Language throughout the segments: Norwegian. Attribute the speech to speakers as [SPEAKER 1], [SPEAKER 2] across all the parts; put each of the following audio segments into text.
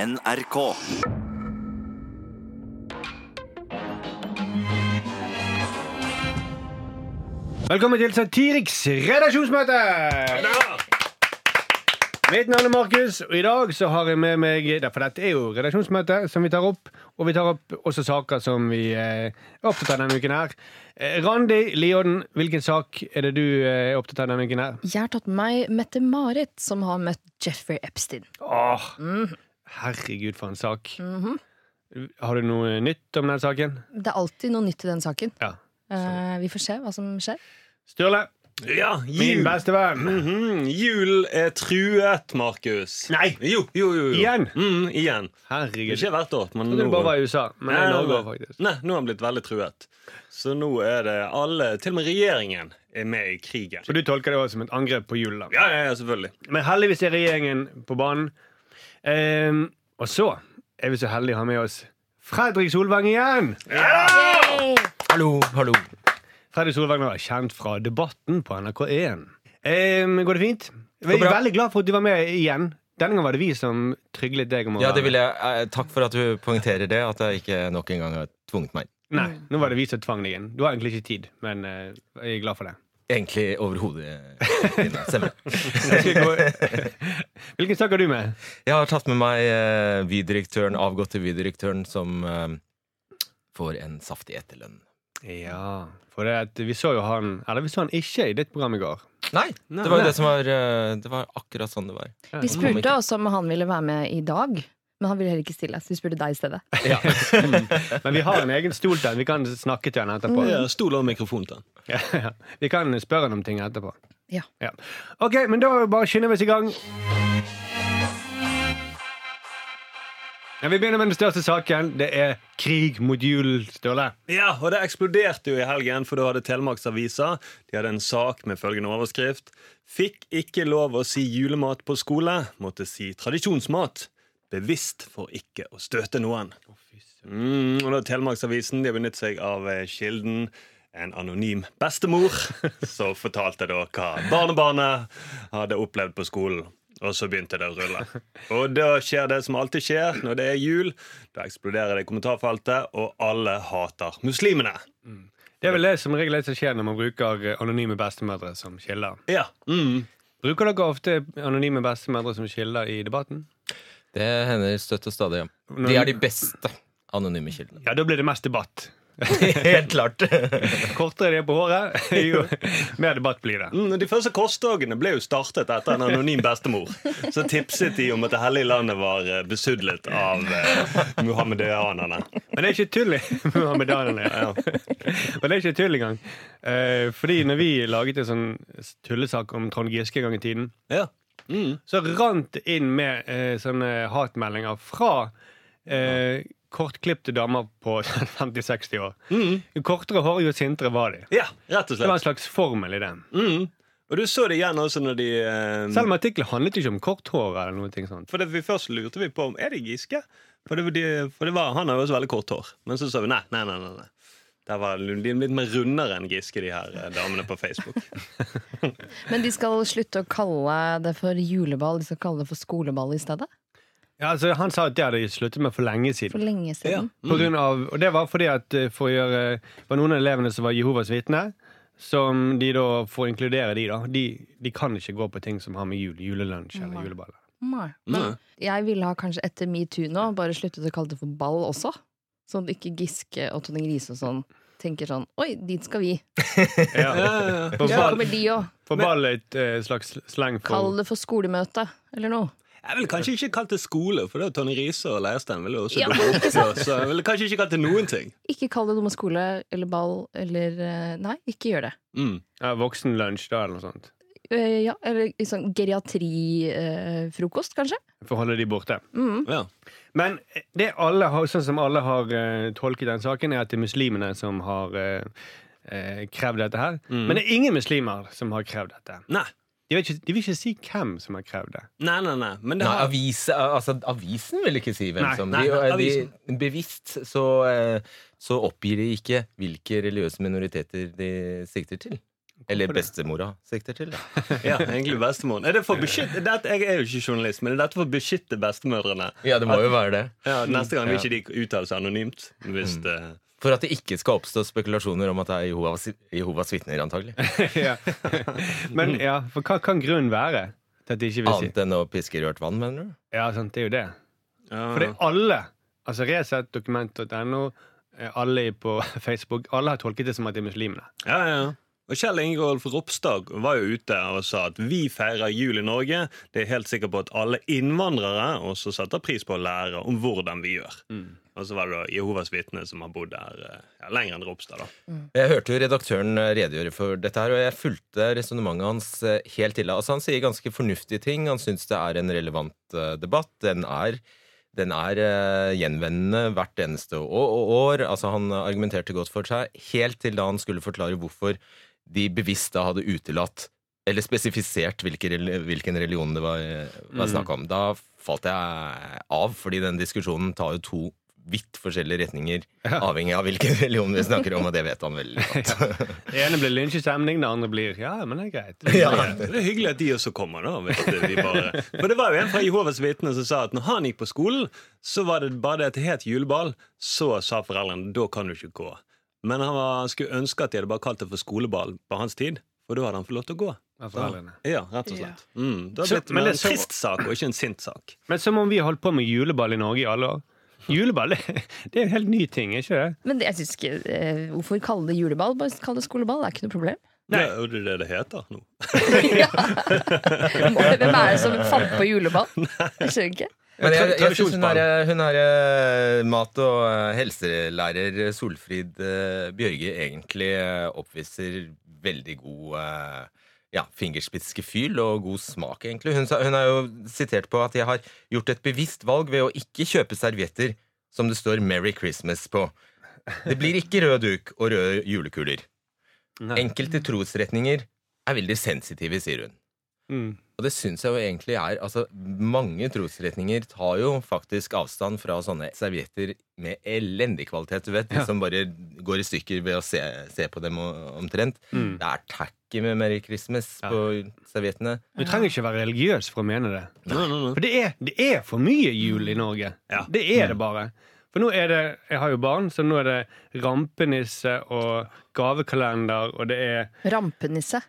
[SPEAKER 1] NRK.
[SPEAKER 2] Velkommen til Satiriks redaksjonsmøte! Mitt navn er Markus, og i dag så har jeg med meg ja, For dette er jo redaksjonsmøte som vi tar opp. Og vi tar opp også saker som vi eh, er opptatt av denne uken her. Eh, Randi Liodden, hvilken sak er det du eh, er opptatt av denne uken her?
[SPEAKER 3] Jeg har tatt med meg Mette-Marit, som har møtt Jeffrey Epstein.
[SPEAKER 2] Åh,
[SPEAKER 4] Mhm.
[SPEAKER 2] herregud, for en sak. Har du noe nytt om den saken?
[SPEAKER 3] Det er alltid noe nytt i den saken.
[SPEAKER 2] Ja.
[SPEAKER 3] Eh, vi får se hva som skjer.
[SPEAKER 2] Sturle,
[SPEAKER 4] Ja,
[SPEAKER 2] min
[SPEAKER 4] jul.
[SPEAKER 2] beste venn.
[SPEAKER 4] Mhm, jul er truet, Markus.
[SPEAKER 2] Nei.
[SPEAKER 4] Jo, jo, jo, jo.
[SPEAKER 2] Igjen?
[SPEAKER 4] Mm, igjen.
[SPEAKER 2] Herregud.
[SPEAKER 4] Ikke hvert år, men
[SPEAKER 2] Jeg trodde
[SPEAKER 4] nå
[SPEAKER 2] det bare var i USA, men det er i
[SPEAKER 4] Nei,
[SPEAKER 2] Norge
[SPEAKER 4] nei,
[SPEAKER 2] også,
[SPEAKER 4] nei.
[SPEAKER 2] faktisk.
[SPEAKER 4] Nei, nå har han blitt veldig truet. Så nå er det alle, til og med regjeringen, er med i krigen.
[SPEAKER 2] Så du tolker det også som et angrep på julen? da?
[SPEAKER 4] Ja, ja, ja selvfølgelig.
[SPEAKER 2] Men heldigvis er regjeringen på banen. Ehm, og så er vi så heldige å ha med oss Fredrik Solvang igjen!
[SPEAKER 5] Hallo, hallo.
[SPEAKER 2] Fredrik Solvang er kjent fra Debatten på NRK1. Ehm, går det fint? Jeg er
[SPEAKER 5] bra.
[SPEAKER 2] veldig glad for at du var med igjen. Denne gangen var det vi som tryglet deg om å
[SPEAKER 5] Ja,
[SPEAKER 2] være
[SPEAKER 5] det vil jeg, eh, Takk for at du poengterer det, at jeg ikke nok en gang har tvunget meg.
[SPEAKER 2] Nei, nå var det vi som tvang deg inn. Du har egentlig ikke tid, men eh, jeg er glad for det.
[SPEAKER 5] Egentlig overhodet. Ina. Stemmer.
[SPEAKER 2] Jeg skal gå- Hvilken sak har du med?
[SPEAKER 5] Jeg har tatt med meg eh, Vy-direktøren, avgåtte Vy-direktøren, som eh, får en saftig etterlønn.
[SPEAKER 2] Ja, for det at vi så jo han Eller vi så han ikke i ditt program i går.
[SPEAKER 5] Nei! Det var jo det som var eh, Det var akkurat sånn det var.
[SPEAKER 3] Vi spurte oss om han ville være med i dag, men han ville heller ikke stille. Så vi spurte deg i stedet.
[SPEAKER 5] Ja.
[SPEAKER 2] Men vi har en egen stol til han. Vi kan snakke til han etterpå.
[SPEAKER 4] Ja, Stol over mikrofonen til han.
[SPEAKER 2] Ja, ja. Vi kan spørre han om ting etterpå.
[SPEAKER 3] Ja.
[SPEAKER 2] Ja. Ok, men da bare skynder vi oss i gang. Ja, vi begynner med den største saken. Det er krig mot jul, Sturle.
[SPEAKER 4] Ja, og det eksploderte jo i helgen, for da hadde Telemarksavisa De hadde en sak med følgende overskrift. Fikk ikke lov å si julemat på skole, måtte si tradisjonsmat. Bevisst for ikke å støte noen. Mm, og da Telemarksavisen de har benyttet seg av eh, kilden en anonym bestemor som fortalte da hva barnebarnet hadde opplevd på skolen. Og så begynte det å rulle. Og da skjer det som alltid skjer når det er jul. Da eksploderer det i kommentarfeltet, og alle hater muslimene.
[SPEAKER 2] Det er vel det som regel det som skjer når man bruker eh, anonyme bestemødre som kilder.
[SPEAKER 4] Ja, mm.
[SPEAKER 2] Bruker dere ofte anonyme bestemødre som kilder i debatten?
[SPEAKER 5] Det hender støtt og stadig. ja. De er de beste anonyme kildene.
[SPEAKER 2] Ja, da blir det mest debatt.
[SPEAKER 5] Helt klart.
[SPEAKER 2] Kortere de er på håret, jo mer debatt blir det.
[SPEAKER 4] Mm, De første korsdagene ble jo startet etter en anonym bestemor. Så tipset de om at det hellige landet var eh, besudlet av eh, muhammedanerne.
[SPEAKER 2] Men det er ikke tull i muhammedanerne. Men det er ikke tull engang. Eh, fordi når vi laget en sånn tullesak om Trond Giske en gang i tiden,
[SPEAKER 4] Ja. Mm.
[SPEAKER 2] så rant det inn med eh, sånne hatmeldinger fra eh, kortklipte damer på 50-60 år. Jo kortere hår, jo sintere var de.
[SPEAKER 4] ja, rett og
[SPEAKER 2] Det
[SPEAKER 4] slett.
[SPEAKER 2] var en slags formel i det.
[SPEAKER 4] Mm. Og du så det igjen også når de eh,
[SPEAKER 2] Selv om artikkelen handlet jo ikke om kort hår eller noe ting sånt.
[SPEAKER 4] For det vi først lurte vi på om er det Giske. For, det, var de- for det var, han har jo også veldig kort hår. Men så sa vi nei, nei, nei. nei, nei. Der var Lundin litt mer rundere enn Giske, de her eh, damene på Facebook.
[SPEAKER 3] Men de skal slutte å kalle det for juleball, de skal kalle det for skoleball i stedet.
[SPEAKER 2] Ja, altså, han sa at det hadde de sluttet med for lenge siden.
[SPEAKER 3] For lenge siden.
[SPEAKER 2] På grunn av, og det var fordi at eh, for å gjøre, det var noen av elevene som var Jehovas vitne, som de da får inkludere de da. De, de kan ikke gå på ting som har med jul, julelunsj eller juleballer.
[SPEAKER 3] Nei. Men jeg ville ha kanskje etter metoo nå bare sluttet å kalle det for ball også. Sånn at ikke Giske og Tone Grise og sånn tenker sånn Oi, dit skal vi.
[SPEAKER 2] For
[SPEAKER 3] Så
[SPEAKER 2] ball,
[SPEAKER 3] kommer de òg.
[SPEAKER 2] for ball er et eh, slags slang
[SPEAKER 3] Kall
[SPEAKER 2] for
[SPEAKER 3] det for skolemøte eller noe.
[SPEAKER 4] Jeg ville kanskje ikke kalt det skole, for det er Tonje Riise og Leirstein ville jo også
[SPEAKER 3] Ja,
[SPEAKER 4] dukke opp. Så, så jeg ville kanskje ikke kalt det noen ting.
[SPEAKER 3] Ikke kall det noe med skole eller ball eller eh, Nei, ikke gjør det.
[SPEAKER 4] Mm.
[SPEAKER 2] ja, voksenlunsj da, eller noe sånt.
[SPEAKER 3] Eh, ja, eller sånn geriatrifrokost, kanskje?
[SPEAKER 2] For å holde de borte.
[SPEAKER 4] Ja.
[SPEAKER 2] Men eh, det alle har, sånn som alle har eh, tolket den saken, er at det er muslimene som har eh, eh, krevd dette her. Men det er ingen muslimer som har krevd dette.
[SPEAKER 4] Nei.
[SPEAKER 2] De vil ikke, de vil ikke si hvem som har krevd det.
[SPEAKER 4] Nei, nei, nei. Men det
[SPEAKER 5] Nei,
[SPEAKER 4] har
[SPEAKER 5] avis, altså, avisen vil ikke si hvem
[SPEAKER 2] Nei,
[SPEAKER 5] som
[SPEAKER 4] nei, nei,
[SPEAKER 5] de,
[SPEAKER 4] avisen.
[SPEAKER 5] de, Bevisst så, eh, så oppgir de ikke hvilke religiøse minoriteter de sikter til. Eller bestemora sikter til. Da.
[SPEAKER 4] Ja, egentlig bestemoren. Er det for å beskytte? Dette, jeg er jo ikke journalist, men er dette for å beskytte bestemødrene?
[SPEAKER 5] Ja, det må jo være det.
[SPEAKER 4] Mm. Ja, Mm. neste gang vil ikke de uttale seg anonymt. Hvis det,
[SPEAKER 5] For at det ikke skal oppstå spekulasjoner om at det er Jehovas, Jehovas vitner, antagelig.
[SPEAKER 2] ja. Men ja, for hva kan grunnen være til at de ikke vil si
[SPEAKER 5] Annet enn å piske rørt vann, mener du?
[SPEAKER 2] Ja, sant, det er jo det. For det
[SPEAKER 4] ja.
[SPEAKER 2] er alle. Altså Resett, dokument.no, eh, alle på Facebook. Alle har tolket det som at det er muslimene.
[SPEAKER 4] Ja, ja. Og Kjell Ingolf Ropstad var jo ute og sa at vi feirer jul i Norge. Det er jeg helt sikker på at alle innvandrere også setter pris på å lære om hvordan vi gjør. Og så var det da Jehovas vitne som har bodd der eh, ja, lenger enn Ropstad. da.
[SPEAKER 5] Jeg hørte jo redaktøren eh, redegjøre for dette her, og jeg fulgte resonnementet hans eh, helt til. Altså, han sier ganske fornuftige ting. Han syns det er en relevant eh, debatt. Den er, den er eh, gjenvendende hvert eneste å- å- år. Altså, han argumenterte godt for seg helt til da han skulle forklare hvorfor de bevisst da hadde utelatt eller spesifisert hvilke, rel- hvilken religion det var, eh, var snakk om. Da falt jeg eh, av, fordi den diskusjonen tar jo to vidt forskjellige retninger, avhengig av hvilken religion vi snakker om, og det vet han veldig godt.
[SPEAKER 2] Det ene blir lynsj i stemning, det andre blir ja, men det er greit.
[SPEAKER 5] Ja.
[SPEAKER 4] Det er hyggelig at de også kommer, da. Hvis vi bare... For det var jo en fra Jehovas vitner som sa at når han gikk på skolen, så var det bare det at det het juleball. Så sa foreldrene da kan du ikke gå. Men han, var, han skulle ønske at de hadde bare kalt det for skoleball på hans tid, for da hadde han fått lov til å gå.
[SPEAKER 2] av foreldrene.
[SPEAKER 4] Ja, rett og slett. Mm, det har
[SPEAKER 2] Så-
[SPEAKER 4] blitt
[SPEAKER 2] men
[SPEAKER 4] mer
[SPEAKER 2] det
[SPEAKER 4] en
[SPEAKER 2] så-
[SPEAKER 4] trist sak, og ikke en sint sak.
[SPEAKER 2] Men som om vi har holdt på med juleball i Norge i alle år. Juleball det det er en helt ny ting, er ikke det?
[SPEAKER 3] Men det, jeg synes ikke, eh, hvorfor kalle det juleball? Bare kalle det skoleball, det er ikke noe problem.
[SPEAKER 4] Det er jo det det heter nå.
[SPEAKER 3] Hvem er det som fant på juleball? Jeg skjønner ikke.
[SPEAKER 5] Men jeg, jeg, synes hun
[SPEAKER 4] Tradisjonsbarn.
[SPEAKER 5] er, hun er eh, mat- og eh, helselærer Solfrid eh, Bjørge egentlig eh, oppviser veldig god eh, ja, fingerspitzgefühl og god smak, egentlig. Hun, sa- hun er jo sitert på at jeg har gjort et bevisst valg ved å ikke kjøpe servietter som det står 'Merry Christmas' på. Det blir ikke rød duk og røde julekuler.
[SPEAKER 2] Nei.
[SPEAKER 5] Enkelte trosretninger er veldig sensitive, sier hun.
[SPEAKER 2] Mm.
[SPEAKER 5] Og det syns jeg jo egentlig er altså, Mange trosretninger tar jo faktisk avstand fra sånne servietter med elendig kvalitet. Du vet, de
[SPEAKER 2] Ja.
[SPEAKER 5] som bare går i stykker ved å se, se på dem og- omtrent.
[SPEAKER 2] Mm.
[SPEAKER 5] Det er tacky med Merry Christmas
[SPEAKER 2] Ja.
[SPEAKER 5] på serviettene.
[SPEAKER 2] Du trenger ikke være religiøs for å mene det.
[SPEAKER 4] Nei, nei, nei.
[SPEAKER 2] For det er, det er for mye jul i Norge.
[SPEAKER 4] Ja. Mm.
[SPEAKER 2] Det er det bare. For nå er det Jeg har jo barn, så nå er det rampenisse og gavekalender, og det er,
[SPEAKER 3] Rampenisse.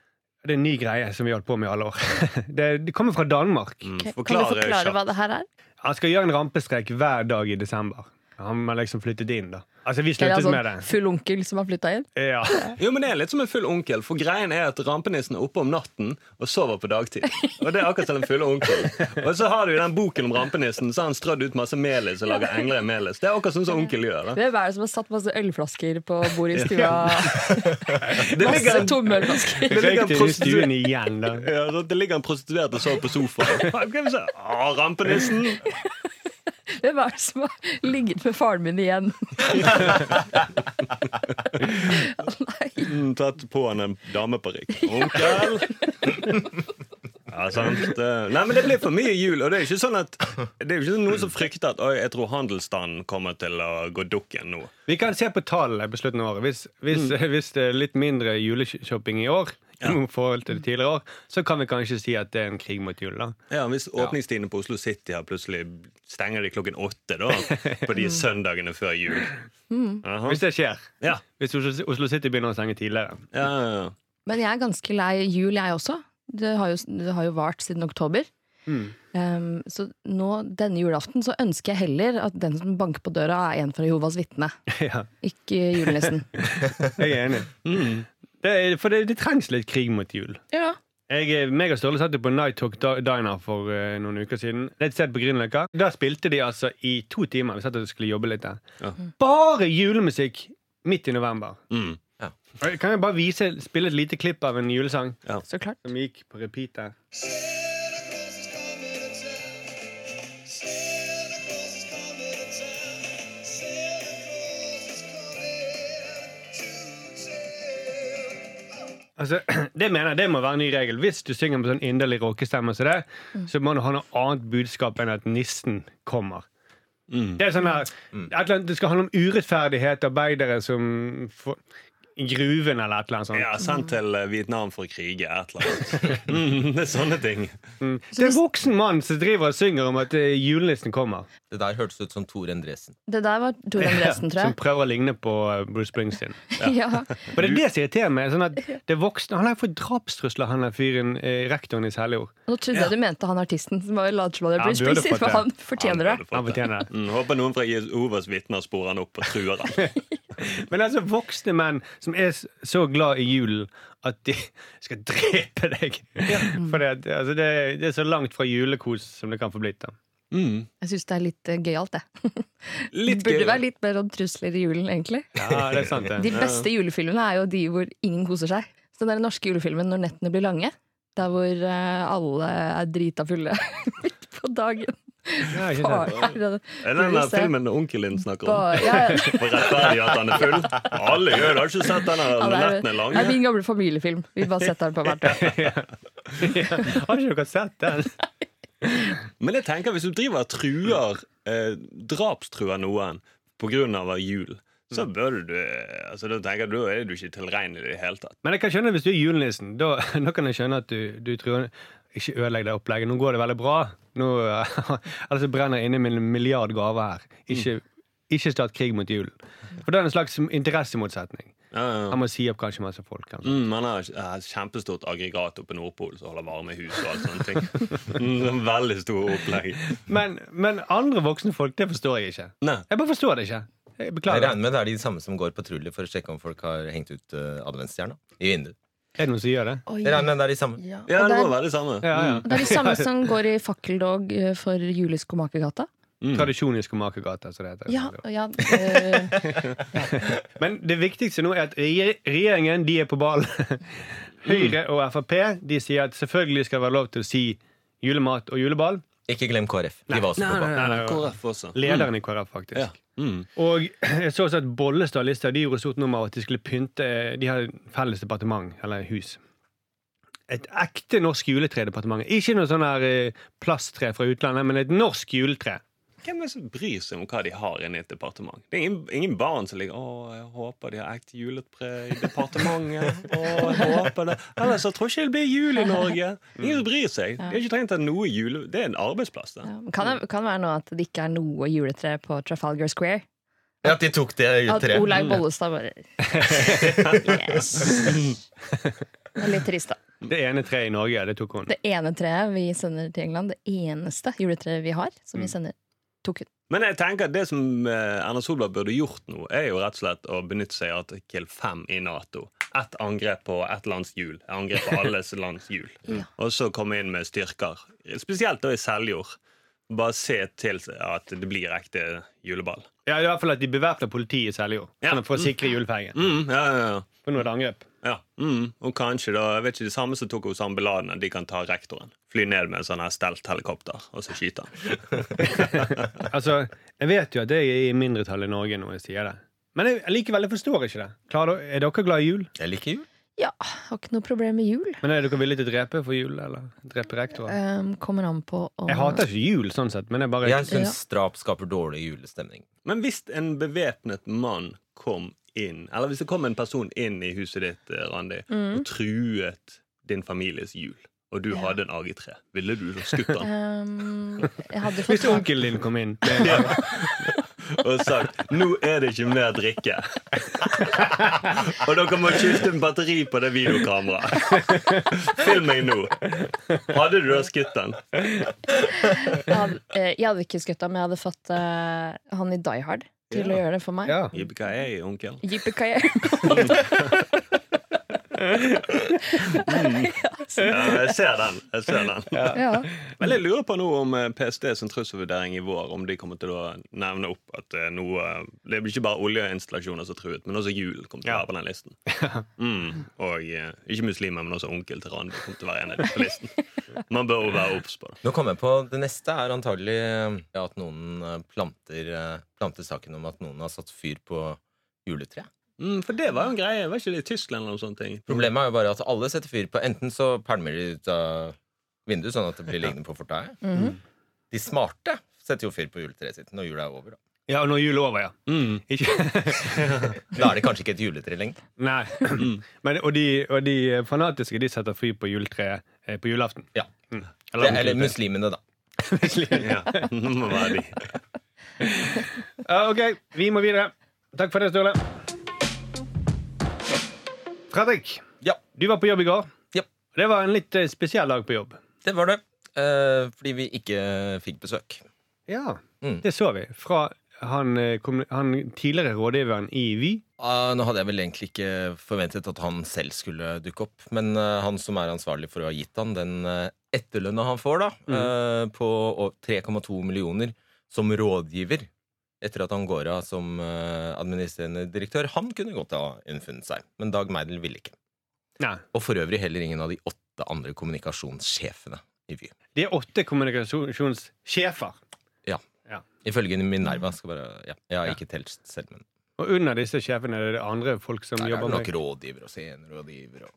[SPEAKER 2] det er en ny greie som vi har holdt på med i alle år. Det, det kommer fra Danmark.
[SPEAKER 4] Mm,
[SPEAKER 3] Ok, Kan du
[SPEAKER 4] forklare
[SPEAKER 3] forklare
[SPEAKER 4] kjapt.
[SPEAKER 3] hva det her er?
[SPEAKER 2] Han skal gjøre en rampestrek hver dag i desember. Han har liksom flyttet inn, da. Altså, vi
[SPEAKER 3] Eller
[SPEAKER 2] sluttet
[SPEAKER 3] en
[SPEAKER 2] med det.
[SPEAKER 3] sånn full onkel som har flytta inn?
[SPEAKER 2] Ja.
[SPEAKER 4] Jo, men Det er litt som en full onkel, for greien er at rampenissen er oppe om natten og sover på dagtid. Og det er akkurat som den fulle onkel. Og så har du jo den boken om rampenissen, så har han strødd ut masse melis og lager engler i melis. Det er akkurat sånn som onkel gjør. Da.
[SPEAKER 3] Hvem er det som har satt masse ølflasker på bordet i stua?
[SPEAKER 4] Det ligger
[SPEAKER 3] Masse
[SPEAKER 4] en,
[SPEAKER 3] tomme ølflasker.
[SPEAKER 4] det ligger
[SPEAKER 2] Røyk
[SPEAKER 4] en
[SPEAKER 2] til
[SPEAKER 4] prostituert
[SPEAKER 2] stuen igjen, da.
[SPEAKER 4] ja, så det ligger en prostituert og sover på sofaen. Hvem sier 'Å, rampenissen'?
[SPEAKER 3] Hvem er det som har ligget med faren min igjen? Å nei.
[SPEAKER 4] Mm, Tatt på han en dameparykk. Onkel! Ja, sant. Det- Nei, men Det blir for mye jul. Og det er jo ikke sånn at Det er jo ikke sånn noen som frykter at Oi, jeg tror handelsstanden kommer til å gå dukken nå.
[SPEAKER 2] Vi kan se på tallene på slutten av året. Hvis, hvis,
[SPEAKER 4] Mm.
[SPEAKER 2] hvis det er litt mindre juleshopping i år, i forhold til tidligere år, så kan vi kanskje si at det er en krig mot jul. da.
[SPEAKER 4] Ja, Hvis åpningstidene på Oslo City her plutselig stenger de klokken åtte da, på de søndagene før jul.
[SPEAKER 3] Mm.
[SPEAKER 4] Aha.
[SPEAKER 2] Hvis det skjer.
[SPEAKER 4] Ja,
[SPEAKER 2] Hvis Oslo, Oslo City begynner å stenge tidligere.
[SPEAKER 4] ja, ja, ja.
[SPEAKER 3] Men jeg er ganske lei jul, jeg også. Det har jo, det har jo vart siden oktober. Um, så nå, denne julaften så ønsker jeg heller at den som banker på døra, er en fra Jehovas vitne.
[SPEAKER 2] ja,
[SPEAKER 3] Ikke julenissen.
[SPEAKER 2] jeg er enig. Det er, for det, det trengs litt krig mot jul.
[SPEAKER 3] ja.
[SPEAKER 2] Jeg, meg og Ståle satt jo på Night Talk Di- Diner for eh, noen uker siden. Det er et sted på Grünerløkka. Da spilte de altså i to timer. Vi satt og skulle jobbe litt der.
[SPEAKER 4] Ja.
[SPEAKER 2] Bare julemusikk midt i november.
[SPEAKER 4] Mm.
[SPEAKER 2] Kan jeg bare vise, spille et lite klipp av en julesang
[SPEAKER 3] Så klart.
[SPEAKER 2] som gikk på repeat der? Altså, det mener jeg, det må være en ny regel. Hvis du synger med sånn inderlig råkestemme som det,
[SPEAKER 3] Mm.
[SPEAKER 2] så må du ha noe annet budskap enn at nissen kommer.
[SPEAKER 4] Mm.
[SPEAKER 2] Det er sånn her, et eller annet- det skal handle om urettferdighet, arbeidere som får gruven eller et eller annet sånt.
[SPEAKER 4] Ja, Sendt til eh, Vietnam for å krige, et eller annet. Mm, det er sånne ting.
[SPEAKER 2] Det er en voksen mann som driver og synger om at eh, julenissen kommer.
[SPEAKER 5] Det der hørtes ut som Tor Endresen.
[SPEAKER 3] Det der var Tor Andresen, tror
[SPEAKER 2] Som
[SPEAKER 3] jeg.
[SPEAKER 2] prøver å ligne på eh, Bruce Springsteen.
[SPEAKER 3] Ja.
[SPEAKER 2] Og det er det som irriterer meg. Sånn at det voksne, Han har fått drapstrusler, han der fyren, eh, rektoren i Seljord.
[SPEAKER 3] Nå trodde jeg du mente han artisten som var later som han
[SPEAKER 2] Ja,
[SPEAKER 3] er Bruce
[SPEAKER 2] han burde
[SPEAKER 3] Springsteen,
[SPEAKER 2] fått
[SPEAKER 3] for
[SPEAKER 2] det.
[SPEAKER 3] han fortjener det.
[SPEAKER 4] burde fått
[SPEAKER 2] Han fortjener det.
[SPEAKER 4] Mm, håper noen fra Jehovas vitner sporer han opp og truer han.
[SPEAKER 2] Men altså voksne menn som er s- så glad i julen at de skal drepe deg. For det, altså, det, det er så langt fra julekos som det kan få blitt. da.
[SPEAKER 4] Mm.
[SPEAKER 3] Jeg syns det er litt eh, gøyalt, det.
[SPEAKER 4] Litt
[SPEAKER 3] Burde
[SPEAKER 4] gøy.
[SPEAKER 3] være litt mer om trusler i julen, egentlig.
[SPEAKER 2] Ja, det er sant det.
[SPEAKER 3] De beste julefilmene er jo de hvor ingen koser seg. Så den der norske julefilmen når nettene blir lange, der hvor eh, alle er drita fulle midt på dagen.
[SPEAKER 2] Ja, ikke sant.
[SPEAKER 3] Bare, er det-
[SPEAKER 4] Er det den der filmen onkelen din snakker om?
[SPEAKER 3] bare, ja, ja.
[SPEAKER 4] For rettferdig at han er full? Alle gjør det. Har du ikke sett den der
[SPEAKER 3] Ja, det er-
[SPEAKER 4] nettene er
[SPEAKER 3] Det
[SPEAKER 4] lange?
[SPEAKER 3] er min gamle familiefilm. Vi bare setter den på hvert år.
[SPEAKER 2] Har ikke dere sett den?
[SPEAKER 4] Men jeg tenker, hvis du driver og truer, eh, drapstruer noen på grunn av jul, så bør du altså, Da tenker jeg, da er du ikke tilregnelig i det hele tatt.
[SPEAKER 2] Men jeg kan skjønne hvis du er julenissen. Da, da kan jeg skjønne at du, du tror Ikke ødelegg det opplegget. Nå går det veldig bra. Nå, ellers så brenner jeg inne med en milliard gaver her. Ikke, ikke start krig mot julen. For det er en slags interessemotsetning.
[SPEAKER 4] Ja, ja.
[SPEAKER 2] Han må si opp kanskje masse folk. kanskje.
[SPEAKER 4] Mm, han har et eh, kjempestort aggregat oppe i Nordpol som holder varme i huset og alt sånne ting. Mm, veldig stor opplegg.
[SPEAKER 2] Men, men andre voksne folk, det forstår jeg ikke.
[SPEAKER 4] Nei.
[SPEAKER 2] Jeg bare forstår det ikke. Jeg
[SPEAKER 5] Jeg
[SPEAKER 2] beklager.
[SPEAKER 5] regner med det er de samme som går patrulje for å sjekke om folk har hengt ut eh, adventsstjerna i vinduet.
[SPEAKER 2] Er det noen som gjør det?
[SPEAKER 3] Oi.
[SPEAKER 5] Jeg regner med det er de samme.
[SPEAKER 3] Ja.
[SPEAKER 4] Ja,
[SPEAKER 3] Og
[SPEAKER 4] det må
[SPEAKER 3] det, er,
[SPEAKER 4] være det samme.
[SPEAKER 2] Ja,
[SPEAKER 5] Mm,
[SPEAKER 2] ja.
[SPEAKER 3] det er de samme som går i fakkeldog eh, for Juleskomakergata.
[SPEAKER 5] mm.
[SPEAKER 2] Tradisjon i Skomakergata, som det heter.
[SPEAKER 3] Ja, ja, eh,
[SPEAKER 2] Men det viktigste nå er at regje- regjeringen de er på ballen. Høyre og Frp de sier at selvfølgelig skal det være lov til å si julemat og juleball.
[SPEAKER 5] Ikke glem KrF. De var også på banen.
[SPEAKER 2] nei, nei.
[SPEAKER 4] KrF også.
[SPEAKER 2] Lederen i KrF, faktisk.
[SPEAKER 4] Ja. Mm.
[SPEAKER 2] Og jeg så også at Bollestad og Listhaug de gjorde stort nummer av at de skulle pynte De har felles departement, eller hus. Et ekte norsk juletredepartement. Ikke noe sånn her eh, plasttre fra utlandet, men et norsk juletre.
[SPEAKER 4] Hvem er det som bryr seg om hva de har inne i et departement? Det er ingen, ingen barn som ligger 'Å, jeg håper de har ekte juletre i departementet'. Å, jeg håper det Ellers så tror jeg ikke det blir jul i Norge. Ingen som bryr seg. De har ikke trengt å ha noe jule... Det er en arbeidsplass, det.
[SPEAKER 3] ja. Kan det kan det være nå at det ikke er noe juletre på Trafalgar Square?
[SPEAKER 5] Ja, at de tok det
[SPEAKER 3] At
[SPEAKER 5] treet.
[SPEAKER 3] Olaug Bollestad bare Yes. Det er litt trist, da.
[SPEAKER 2] Det ene treet i Norge, det tok hun.
[SPEAKER 3] Det ene treet vi sender til England, det eneste juletreet vi har, som
[SPEAKER 2] Mm.
[SPEAKER 3] vi sender, tok hun.
[SPEAKER 4] Men jeg tenker at det som eh, Erna Solberg burde gjort nå, er jo rett og slett å benytte seg av artikkel 5 i Nato. Ett angrep på ett lands hjul. Et Angrep på alles lands hjul.
[SPEAKER 3] Ja.
[SPEAKER 4] Og så komme inn med styrker. Spesielt da i Seljord. Bare se til at det blir ekte juleball.
[SPEAKER 2] Ja, i hvert fall at de bevæpner politiet i Seljord
[SPEAKER 4] Ja.
[SPEAKER 2] sånn for å sikre julepengen.
[SPEAKER 4] Mm, ja, ja, ja.
[SPEAKER 2] For nå er det angrep.
[SPEAKER 4] Ja, mm. Og kanskje da, jeg vet ikke, det samme som tok Osama bin Laden, at de kan ta rektoren. Fly ned med en sånn her stelt-helikopter, og så skyte han.
[SPEAKER 2] Altså, Jeg vet jo at jeg er i mindretall i Norge når jeg sier det. Men jeg likevel jeg forstår ikke det. Klarer, dere- er dere glad i jul?
[SPEAKER 5] Jeg liker jul.
[SPEAKER 3] Ja, har ikke noe problem med jul.
[SPEAKER 2] Men er dere villige til å drepe for jul? Eller drepe rektorer?
[SPEAKER 3] Um, kommer an på om
[SPEAKER 2] Jeg hater ikke jul, sånn sett, men jeg bare
[SPEAKER 5] Jeg syns drap skaper dårlig julestemning.
[SPEAKER 4] Men hvis en bevæpnet mann kom inn, eller hvis det kom en person inn i huset ditt, eh, Randi, og truet din families jul, og du
[SPEAKER 3] Ja.
[SPEAKER 4] hadde en AG3, ville du så skutt han
[SPEAKER 3] um, Jeg hadde fått
[SPEAKER 2] Hvis onkelen din kom inn med en gave.
[SPEAKER 4] og sagt 'nå er det ikke mer drikke'? og dere må skifte en batteri på det videokameraet. Film meg nå. Hadde du da skutt han?
[SPEAKER 3] jeg hadde, eh, jeg hadde ikke skutt ham, men jeg hadde fått eh, han i Die Hard til
[SPEAKER 4] Ja.
[SPEAKER 3] å gjøre det for meg.
[SPEAKER 2] ja.
[SPEAKER 4] Yippee-ki-yay, onkel.
[SPEAKER 3] Yippee-ki-yay.
[SPEAKER 2] Mm.
[SPEAKER 4] Ja, jeg ser den. jeg ser den
[SPEAKER 3] Ja.
[SPEAKER 4] Men jeg lurer på nå om eh, PST sin trusselvurdering i vår Om de kommer til å nevne opp at eh, noe Det blir ikke bare oljeinstallasjoner som er truet, men også jul kommer til å være på den listen. Mm. Og eh, ikke muslimer, men også onkel til Randi kommer til å være en av de på listen. Man bør jo være obs på det.
[SPEAKER 5] Nå kom jeg på Det neste er antagelig eh, at noen eh, planter, eh, planter saken om at noen har satt fyr på juletreet.
[SPEAKER 4] Mm, for det var jo en greie. Var ikke det i Tyskland eller noen sånne ting?
[SPEAKER 5] Problemet er jo bare at alle setter fyr på Enten så pælmer de ut av vinduet, sånn at det blir liggende på fortauet.
[SPEAKER 3] Mhm.
[SPEAKER 5] De smarte setter jo fyr på juletreet sitt når jula er over. Da.
[SPEAKER 2] Ja, når jul er over, ja.
[SPEAKER 4] Mm.
[SPEAKER 2] Ikke,
[SPEAKER 5] Da er det kanskje ikke et juletre lenger.
[SPEAKER 2] nei.
[SPEAKER 5] Mm.
[SPEAKER 2] Men, og, de, og de fanatiske de setter fyr på juletreet eh, på julaften.
[SPEAKER 5] Ja.
[SPEAKER 2] Mm.
[SPEAKER 5] Det, eller muslimene, da.
[SPEAKER 4] Mm. Ja. Det må være de.
[SPEAKER 2] Ja, Ah, ok, vi må videre. Takk for det, Sturle. Fredrik,
[SPEAKER 5] Ja.
[SPEAKER 2] du var på jobb i går.
[SPEAKER 5] Ja.
[SPEAKER 2] Det var en litt eh, spesiell dag på jobb.
[SPEAKER 5] Det var det. Eh, fordi vi ikke fikk besøk.
[SPEAKER 2] Ja,
[SPEAKER 5] Mm.
[SPEAKER 2] Det så vi. Fra han, eh, kommu- han tidligere rådgiveren i Vy.
[SPEAKER 5] Ah, nå hadde jeg vel egentlig ikke forventet at han selv skulle dukke opp, men eh, han som er ansvarlig for å ha gitt han den uh, etterlønna han får, da, eh, på å- 3,2 millioner som rådgiver etter at han går av som eh, administrerende direktør, han kunne godt ha unnfunnet seg, men Dag Meidel ville ikke.
[SPEAKER 2] Nei.
[SPEAKER 5] Og for øvrig heller ingen av de åtte andre kommunikasjonssjefene i Vy.
[SPEAKER 2] De er åtte kommunikasjonssjefer.
[SPEAKER 5] Ifølge Minerva. Skal bare, ja, jeg har ikke telt selv, men
[SPEAKER 2] Og under disse sjefene er det andre folk som
[SPEAKER 5] der er
[SPEAKER 2] jobber
[SPEAKER 5] det nok
[SPEAKER 2] med
[SPEAKER 5] rådgiver og scenerådgiver og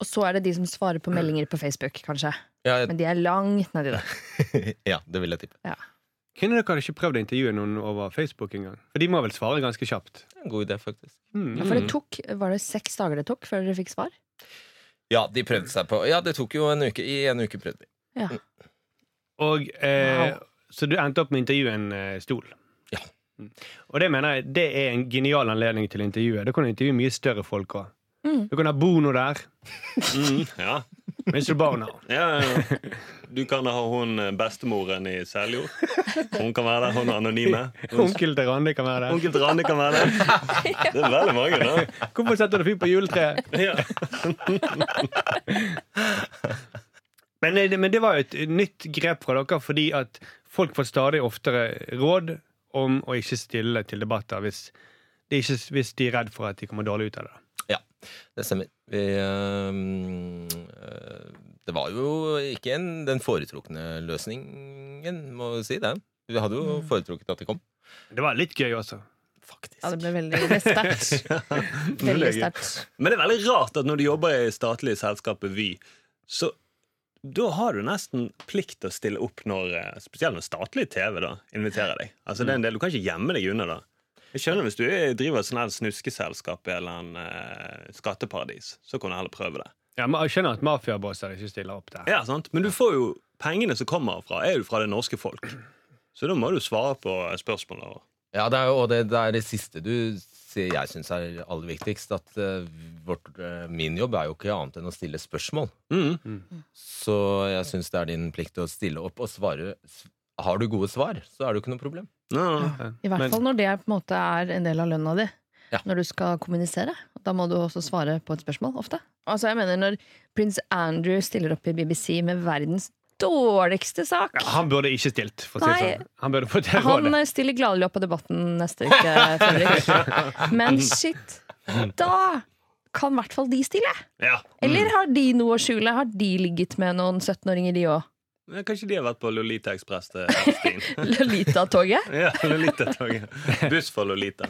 [SPEAKER 3] Og så er det de som svarer på meldinger på Facebook, kanskje.
[SPEAKER 5] ja,
[SPEAKER 3] Men de er langt nedi der.
[SPEAKER 5] ja, det vil jeg tippe.
[SPEAKER 2] Kunne dere ikke prøvd å intervjue noen over Facebook engang? For de må vel svare ganske kjapt?
[SPEAKER 5] Det er En god idé, faktisk.
[SPEAKER 2] Mm.
[SPEAKER 3] Ja, For det tok, var det seks dager det tok før dere fikk svar?
[SPEAKER 5] Ja, de prøvde seg på Ja, det tok jo en uke. I en uke prøvde de.
[SPEAKER 3] Ja.
[SPEAKER 2] Mm. Og, eh,
[SPEAKER 3] Wow.
[SPEAKER 2] Så du endte opp med å intervjue en eh, stol.
[SPEAKER 5] Ja.
[SPEAKER 2] Mm. Og det mener jeg det er en genial anledning til å intervjue. Da kan du intervjue mye større folk òg.
[SPEAKER 3] Mm.
[SPEAKER 2] Du kan ha Bono der.
[SPEAKER 4] Mm, ja.
[SPEAKER 2] Mr. Bono.
[SPEAKER 4] Ja, ja, ja. Du kan ha hun eh, bestemoren i Seljord. Hun kan være der, hun er anonyme. Hun-
[SPEAKER 2] Onkel til Randi kan være der.
[SPEAKER 4] Onkel Randi kan være der. Det er veldig mange, da.
[SPEAKER 2] Hvorfor setter du fyr på juletreet?
[SPEAKER 4] Ja.
[SPEAKER 2] Men, eh, det- men det var jo et nytt grep fra dere, fordi at folk får stadig oftere råd om å ikke stille til debatter hvis de, ikke, hvis de er redd for at de kommer dårlig ut av det.
[SPEAKER 5] Ja, det stemmer. Vi, øhm, øh, det var jo ikke en, den foretrukne løsningen, må vi si det. Vi hadde jo foretrukket at de kom.
[SPEAKER 2] Det var litt gøy også.
[SPEAKER 5] Faktisk.
[SPEAKER 3] Ja, det ble veldig det er sterkt. Veldig sterkt.
[SPEAKER 4] Men det er veldig rart at når du jobber i statlige selskapet Vy, så da har du nesten plikt til å stille opp når eh, spesielt når statlig TV da inviterer deg. Altså det er en del, Du kan ikke gjemme deg unna da. Jeg skjønner Hvis du er- driver et sånn her snuskeselskap i en eller annen eh, skatteparadis, så kan du heller prøve det.
[SPEAKER 2] Ja, men jeg skjønner at mafiabosser ikke stiller opp der.
[SPEAKER 4] Ja, sant? Men du får jo pengene som kommer herfra, er jo fra det norske folk. Så da må du svare på spørsmål. Og...
[SPEAKER 5] Ja, det er jo og det, det, er det siste du sier jeg syns er aller viktigst. At øh, vårt, øh, min jobb er jo ikke annet enn å stille spørsmål.
[SPEAKER 4] Mm.
[SPEAKER 5] Så jeg syns det er din plikt å stille opp og svare. Har du gode svar, så er det jo ikke noe problem.
[SPEAKER 4] Ja,
[SPEAKER 2] Mm.
[SPEAKER 4] ja.
[SPEAKER 3] I hvert
[SPEAKER 2] Men-
[SPEAKER 3] fall når det er, på en måte er en del av lønna di.
[SPEAKER 5] Ja.
[SPEAKER 3] Når du skal kommunisere. Da må du også svare på et spørsmål, ofte. Altså, jeg mener, når prins Andrew stiller opp i BBC med verdens dårligste sak
[SPEAKER 2] Ja, han burde ikke stilt, for å si det
[SPEAKER 3] Nei.
[SPEAKER 2] sånn. Han burde fått det
[SPEAKER 3] Han
[SPEAKER 2] rådet.
[SPEAKER 3] eh, stiller gladelig opp på Debatten neste uke, Fredrik. Men shit, da kan i hvert fall de stille.
[SPEAKER 4] ja.
[SPEAKER 3] Eller har de noe å skjule? Har de ligget med noen 17-åringer, de òg?
[SPEAKER 4] Men Kanskje de har vært på Lolita eh, Ekspress til Epstein.
[SPEAKER 3] Lolita-toget?
[SPEAKER 4] Ja, Lolita-toget. Buss for Lolita.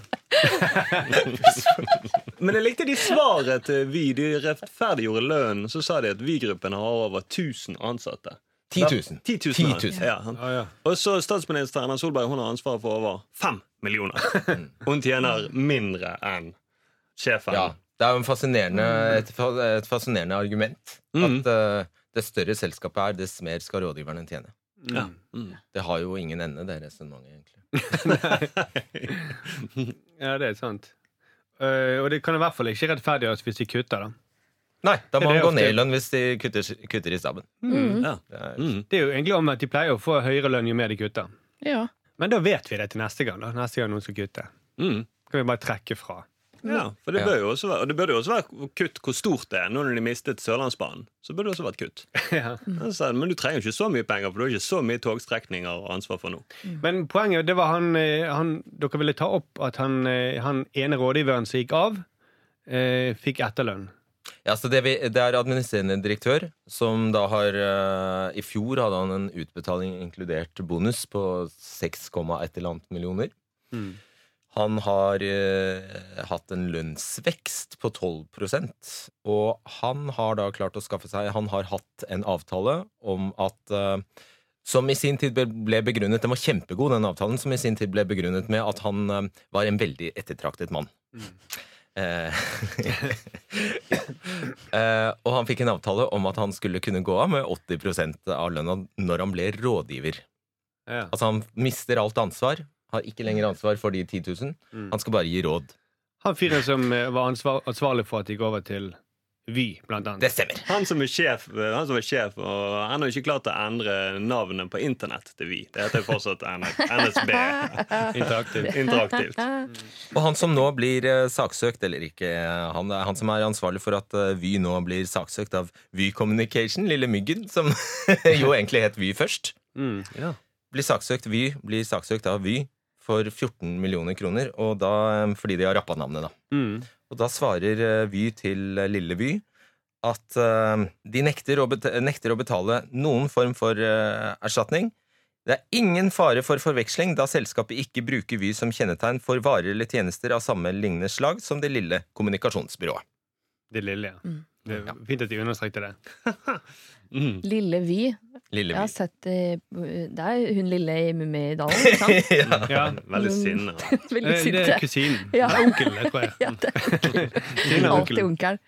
[SPEAKER 4] Men jeg likte de svaret til Vy. De rettferdiggjorde lønnen. Så sa de at Vy-gruppen har over 1000 ansatte.
[SPEAKER 5] 10 000.
[SPEAKER 4] 10 000,
[SPEAKER 5] 10 000.
[SPEAKER 4] Ja, sant.
[SPEAKER 2] Ja, ja.
[SPEAKER 4] Og så statsminister Erna Solberg hun har ansvaret for over 5 millioner.
[SPEAKER 5] Mm.
[SPEAKER 4] Hun tjener mindre enn sjefen.
[SPEAKER 5] Ja, det er jo en fascinerende,
[SPEAKER 2] Mm.
[SPEAKER 5] et, fa- et fascinerende argument.
[SPEAKER 4] Mhm.
[SPEAKER 5] At eh, det større selskapet er, dess mer skal rådgiverne tjene.
[SPEAKER 4] Ja. Mm.
[SPEAKER 5] Det har jo ingen ende, det resonnementet, egentlig.
[SPEAKER 2] ja, det er sant. Eh, og det kan i hvert fall ikke rettferdiggjøres hvis de kutter, da.
[SPEAKER 5] Nei, da
[SPEAKER 2] Det
[SPEAKER 5] må man
[SPEAKER 2] er
[SPEAKER 5] gå
[SPEAKER 2] ofte-
[SPEAKER 5] ned i lønn hvis de kutter, kutter i staben.
[SPEAKER 4] Mm. Ja.
[SPEAKER 5] Det er,
[SPEAKER 4] Mm.
[SPEAKER 2] Det er jo egentlig om at de pleier å få høyere lønn jo mer de kutter.
[SPEAKER 3] Ja.
[SPEAKER 2] Men da vet vi det til neste gang. da Neste gang noen skal kutte.
[SPEAKER 4] Mm.
[SPEAKER 2] Kan vi bare trekke fra.
[SPEAKER 4] Ja, for det
[SPEAKER 5] Ja.
[SPEAKER 4] bør jo også være, og det bør jo også være kutt hvor stort det er. Nå når de mistet Sørlandsbanen, så bør det også vært kutt.
[SPEAKER 2] ja.
[SPEAKER 4] Altså, men du trenger jo ikke så mye penger, for du har ikke så mye togstrekninger å ha ansvar for nå.
[SPEAKER 3] Mm.
[SPEAKER 2] Men poenget det var han, eh, han Dere ville ta opp at han, eh, han ene rådgiveren som gikk av, eh, fikk etterlønn.
[SPEAKER 5] ja, så det, vi, det er administrerende direktør som da har eh, I fjor hadde han en utbetaling inkludert bonus på 6, et eller annet millioner. Han har eh, hatt en lønnsvekst på 12 og han har da klart å skaffe seg Han har hatt en avtale om at eh, som i sin tid ble- ble begrunnet Den var kjempegod, den avtalen, som i sin tid ble begrunnet med at han eh, var en veldig ettertraktet mann. Eh, eh, og han fikk en avtale om at han skulle kunne gå av med 80 av lønna når han ble rådgiver.
[SPEAKER 2] Ja.
[SPEAKER 5] Altså han mister alt ansvar. Har ikke lenger ansvar for de 10 000.
[SPEAKER 2] Mm.
[SPEAKER 5] Han skal bare gi råd.
[SPEAKER 2] Han fyren som eh, var ansvar, ansvarlig for at de gikk over til Vy, blant annet.
[SPEAKER 5] Det stemmer.
[SPEAKER 4] Han som er sjef, han som er sjef og han har ikke klart å endre navnet på internett til Vy. Det heter fortsatt NSB.
[SPEAKER 2] Interaktiv.
[SPEAKER 4] Interaktivt.
[SPEAKER 5] Og han som nå blir eh, saksøkt, eller ikke eh, han, det er han som er ansvarlig for at eh, Vy nå blir saksøkt av Vy Communication, lille myggen, som jo egentlig het Vy først,
[SPEAKER 2] Mm, ja.
[SPEAKER 5] blir saksøkt. Vy blir saksøkt av Vy for 14 millioner kroner, og da, eh, fordi de har rappa navnet, da.
[SPEAKER 2] Mm.
[SPEAKER 5] Og da svarer eh, Vy til eh, Lille Vy at eh, de nekter å, bet- nekter å betale noen form for eh, erstatning. Det er ingen fare for forveksling da selskapet ikke bruker Vy som kjennetegn for varer eller tjenester av samme lignende slag som det lille kommunikasjonsbyrået.
[SPEAKER 2] Det lille, ja.
[SPEAKER 3] Mm.
[SPEAKER 2] Det er fint at de understrekte det.
[SPEAKER 4] Mm.
[SPEAKER 3] Lille Vy.
[SPEAKER 5] Lille
[SPEAKER 3] Jeg har
[SPEAKER 5] Vy.
[SPEAKER 3] sett eh, Det er hun lille i Mummidalen, ikke sant?
[SPEAKER 5] ja.
[SPEAKER 2] Ja.
[SPEAKER 4] Veldig sinne.
[SPEAKER 2] Eh,
[SPEAKER 3] Veldig
[SPEAKER 2] Det er
[SPEAKER 3] sinte.
[SPEAKER 2] kusinen.
[SPEAKER 3] Ja.
[SPEAKER 2] Det er onkelen, jeg tror jeg.
[SPEAKER 3] Ja, det er
[SPEAKER 2] Kusinen er
[SPEAKER 3] alltid
[SPEAKER 2] onkelen.
[SPEAKER 3] onkelen.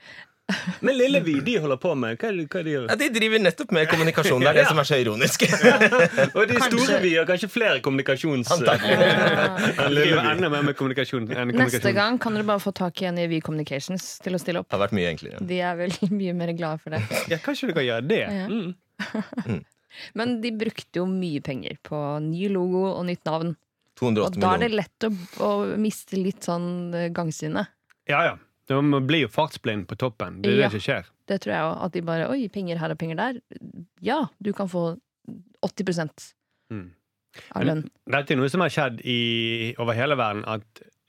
[SPEAKER 4] Men Lille Vy, de holder på med Hva, er det- hva er det de gjør?
[SPEAKER 5] Ja, de driver nettopp med kommunikasjon. Det er det som er så ironisk.
[SPEAKER 4] Og de store
[SPEAKER 3] Kanskje.
[SPEAKER 4] Vy har kanskje flere kommunikasjons...
[SPEAKER 5] Antagelig.
[SPEAKER 4] enn
[SPEAKER 2] Det er
[SPEAKER 4] Lille
[SPEAKER 2] jo
[SPEAKER 4] Vy.
[SPEAKER 2] enda mer med kommunikasjon enn
[SPEAKER 3] Neste
[SPEAKER 2] kommunikasjon.
[SPEAKER 3] gang kan dere bare få tak i en i Vy Communications til å stille opp.
[SPEAKER 5] Det har vært mye enklere.
[SPEAKER 3] De er vel mye mer glade for det.
[SPEAKER 2] Ja, kanskje du kan gjøre det?
[SPEAKER 3] Ja.
[SPEAKER 4] Mm.
[SPEAKER 3] Men de brukte jo mye penger på ny logo og nytt navn. Og
[SPEAKER 5] 208
[SPEAKER 3] da er det
[SPEAKER 5] millioner.
[SPEAKER 3] lett å, å miste litt sånn eh, gangsynet.
[SPEAKER 2] Ja, ja. De blir jo fartsblind på toppen. Det er
[SPEAKER 3] Ja.
[SPEAKER 2] det som skjer.
[SPEAKER 3] Det tror jeg òg. At de bare Oi, penger her og penger der. Ja, du kan få 80
[SPEAKER 2] Mm.
[SPEAKER 3] av lønn.
[SPEAKER 2] Dette er noe som har skjedd i, over hele verden, at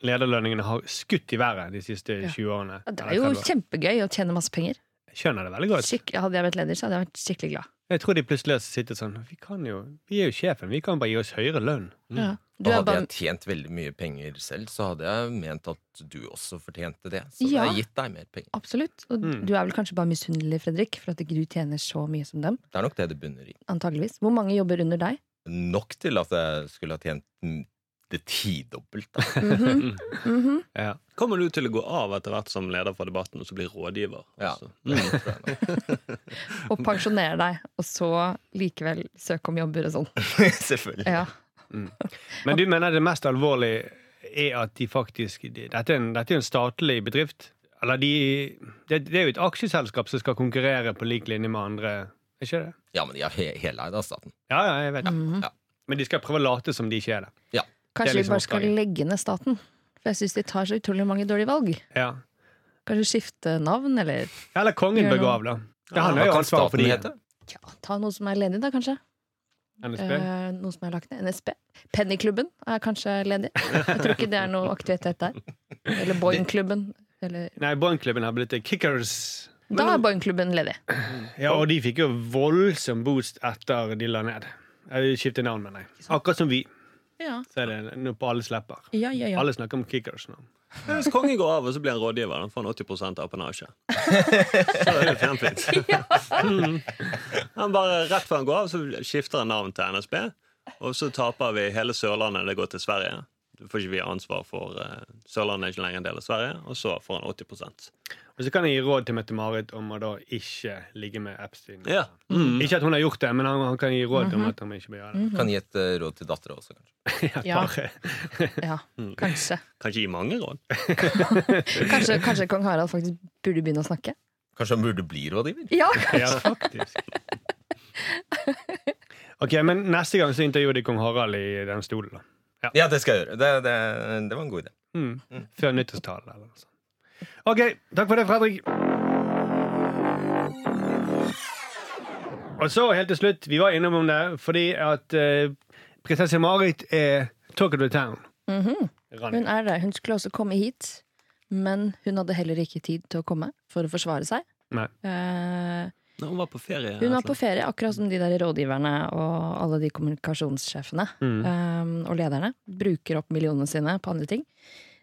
[SPEAKER 2] lederlønningene har skutt i været de siste
[SPEAKER 3] Ja.
[SPEAKER 2] 20 årene.
[SPEAKER 3] Ja, Det
[SPEAKER 2] Eller
[SPEAKER 3] er jo
[SPEAKER 2] 30 år.
[SPEAKER 3] kjempegøy å tjene masse penger.
[SPEAKER 2] Skjønner det veldig godt.
[SPEAKER 3] Skikk- hadde jeg vært leder, så hadde jeg vært skikkelig glad.
[SPEAKER 2] Jeg tror de plutselig har sittet sånn Vi kan jo, vi er jo sjefen, vi kan bare gi oss høyere lønn.
[SPEAKER 3] Ja. Du er
[SPEAKER 5] Og hadde
[SPEAKER 3] bare
[SPEAKER 5] jeg tjent veldig mye penger selv, så hadde jeg ment at du også fortjente det. Så det
[SPEAKER 3] Ja.
[SPEAKER 5] har gitt deg mer penger.
[SPEAKER 3] Absolutt. Og
[SPEAKER 2] Mm.
[SPEAKER 3] du er vel kanskje bare misunnelig, Fredrik, for at ikke du tjener så mye som dem.
[SPEAKER 5] Det er nok det det bunner i.
[SPEAKER 3] Antageligvis. Hvor mange jobber under deg?
[SPEAKER 5] nok til at jeg skulle ha tjent mm, det tidobbelt. da.
[SPEAKER 3] Mhm. Mhm.
[SPEAKER 2] Ja.
[SPEAKER 4] Kommer du til å gå av etter hvert som leder for debatten og så bli rådgiver?
[SPEAKER 5] Ja. Mm.
[SPEAKER 4] altså?
[SPEAKER 3] Og pensjonere deg, og så likevel søke om jobber og sånn.
[SPEAKER 5] Selvfølgelig.
[SPEAKER 3] Ja.
[SPEAKER 2] Men du mener det mest alvorlige er at de faktisk de- Dette er en, dette er en statlig bedrift. Eller de det, det er jo et aksjeselskap som skal konkurrere på lik linje med andre. Er ikke det?
[SPEAKER 5] Ja, men de er he heleid av staten.
[SPEAKER 2] Ja, ja, jeg vet det.
[SPEAKER 3] Mhm.
[SPEAKER 5] Ja.
[SPEAKER 2] Men de skal prøve å late som de ikke er det.
[SPEAKER 3] Kanskje
[SPEAKER 2] Det er liksom
[SPEAKER 3] vi bare skal
[SPEAKER 2] oppdraget.
[SPEAKER 3] legge ned staten? For jeg syns de tar så utrolig mange dårlige valg.
[SPEAKER 2] Ja.
[SPEAKER 3] Kanskje skifte navn, eller
[SPEAKER 2] Eller kongen
[SPEAKER 3] Gjør
[SPEAKER 2] bør gå
[SPEAKER 3] noe.
[SPEAKER 2] av, da. Ja, han
[SPEAKER 5] Hva
[SPEAKER 2] har jo
[SPEAKER 5] kan
[SPEAKER 2] ansvaret for
[SPEAKER 5] staten
[SPEAKER 2] de.
[SPEAKER 5] hete?
[SPEAKER 3] ja, ta noe som er ledig, da, kanskje.
[SPEAKER 2] NSB.
[SPEAKER 3] Eh, noe som er lagt ned. NSB. Pennyklubben er kanskje ledig. Jeg tror ikke det er noe aktivitet der. Eller Boeing-klubben. Eller
[SPEAKER 2] Nei, Boeing-klubben har blitt Kickers.
[SPEAKER 3] Da er Boeing-klubben ledig.
[SPEAKER 2] Ja, og de fikk jo voldsom boost etter de la ned. Jeg skifter navn, mener jeg. Akkurat som vi.
[SPEAKER 3] Ja,
[SPEAKER 2] Så er det nå på alles lepper.
[SPEAKER 3] ja, ja. ja.
[SPEAKER 2] Alle snakker om Kickers nå.
[SPEAKER 4] Men Hvis kongen går av og så blir han rådgiver, da får han 80 av apanasje. Så er det kjempefint. Mm. Han bare, Rett før han går av, så skifter han navn til NSB, og så taper vi hele Sørlandet. Det går til Sverige. Da får ikke vi ansvar for eh, Sørlandet er ikke lenger en del av Sverige, og så får han 80
[SPEAKER 2] Og så kan jeg gi råd til Mette-Marit om å da ikke ligge med Epstein.
[SPEAKER 4] Ja.
[SPEAKER 3] Mm.
[SPEAKER 2] Ikke at hun har gjort det, men han, han kan gi råd
[SPEAKER 3] Mhm.
[SPEAKER 2] om at han ikke bør gjøre det.
[SPEAKER 5] Kan gi et eh, råd til dattera også, kanskje.
[SPEAKER 3] Ja.
[SPEAKER 2] Bare-
[SPEAKER 3] ja. Kanskje.
[SPEAKER 4] Kanskje gi mange råd.
[SPEAKER 3] kanskje. Kanskje kong Harald faktisk burde begynne å snakke?
[SPEAKER 5] Kanskje han burde bli rådgiver?
[SPEAKER 3] Ja,
[SPEAKER 2] Ja, faktisk. Ok, men neste gang så intervjuer de kong Harald i den stolen, da.
[SPEAKER 5] Ja, det skal jeg gjøre. Det, det, det var en god idé.
[SPEAKER 2] Mm. Før nyttårstalen eller noe sånt. Ok, takk for det, Fredrik. Og så helt til slutt, vi var innom om det fordi at eh, prinsesse Marit er talk of the town. Ronny.
[SPEAKER 3] hun er det. Hun skulle også komme hit, men hun hadde heller ikke tid til å komme for å forsvare seg.
[SPEAKER 2] Nei.
[SPEAKER 3] Eh,
[SPEAKER 4] Når hun var på ferie.
[SPEAKER 3] hun var
[SPEAKER 4] altså.
[SPEAKER 3] på ferie, akkurat som de der rådgiverne og alle de kommunikasjonssjefene
[SPEAKER 2] Mm.
[SPEAKER 3] eh, og lederne. Bruker opp millionene sine på andre ting.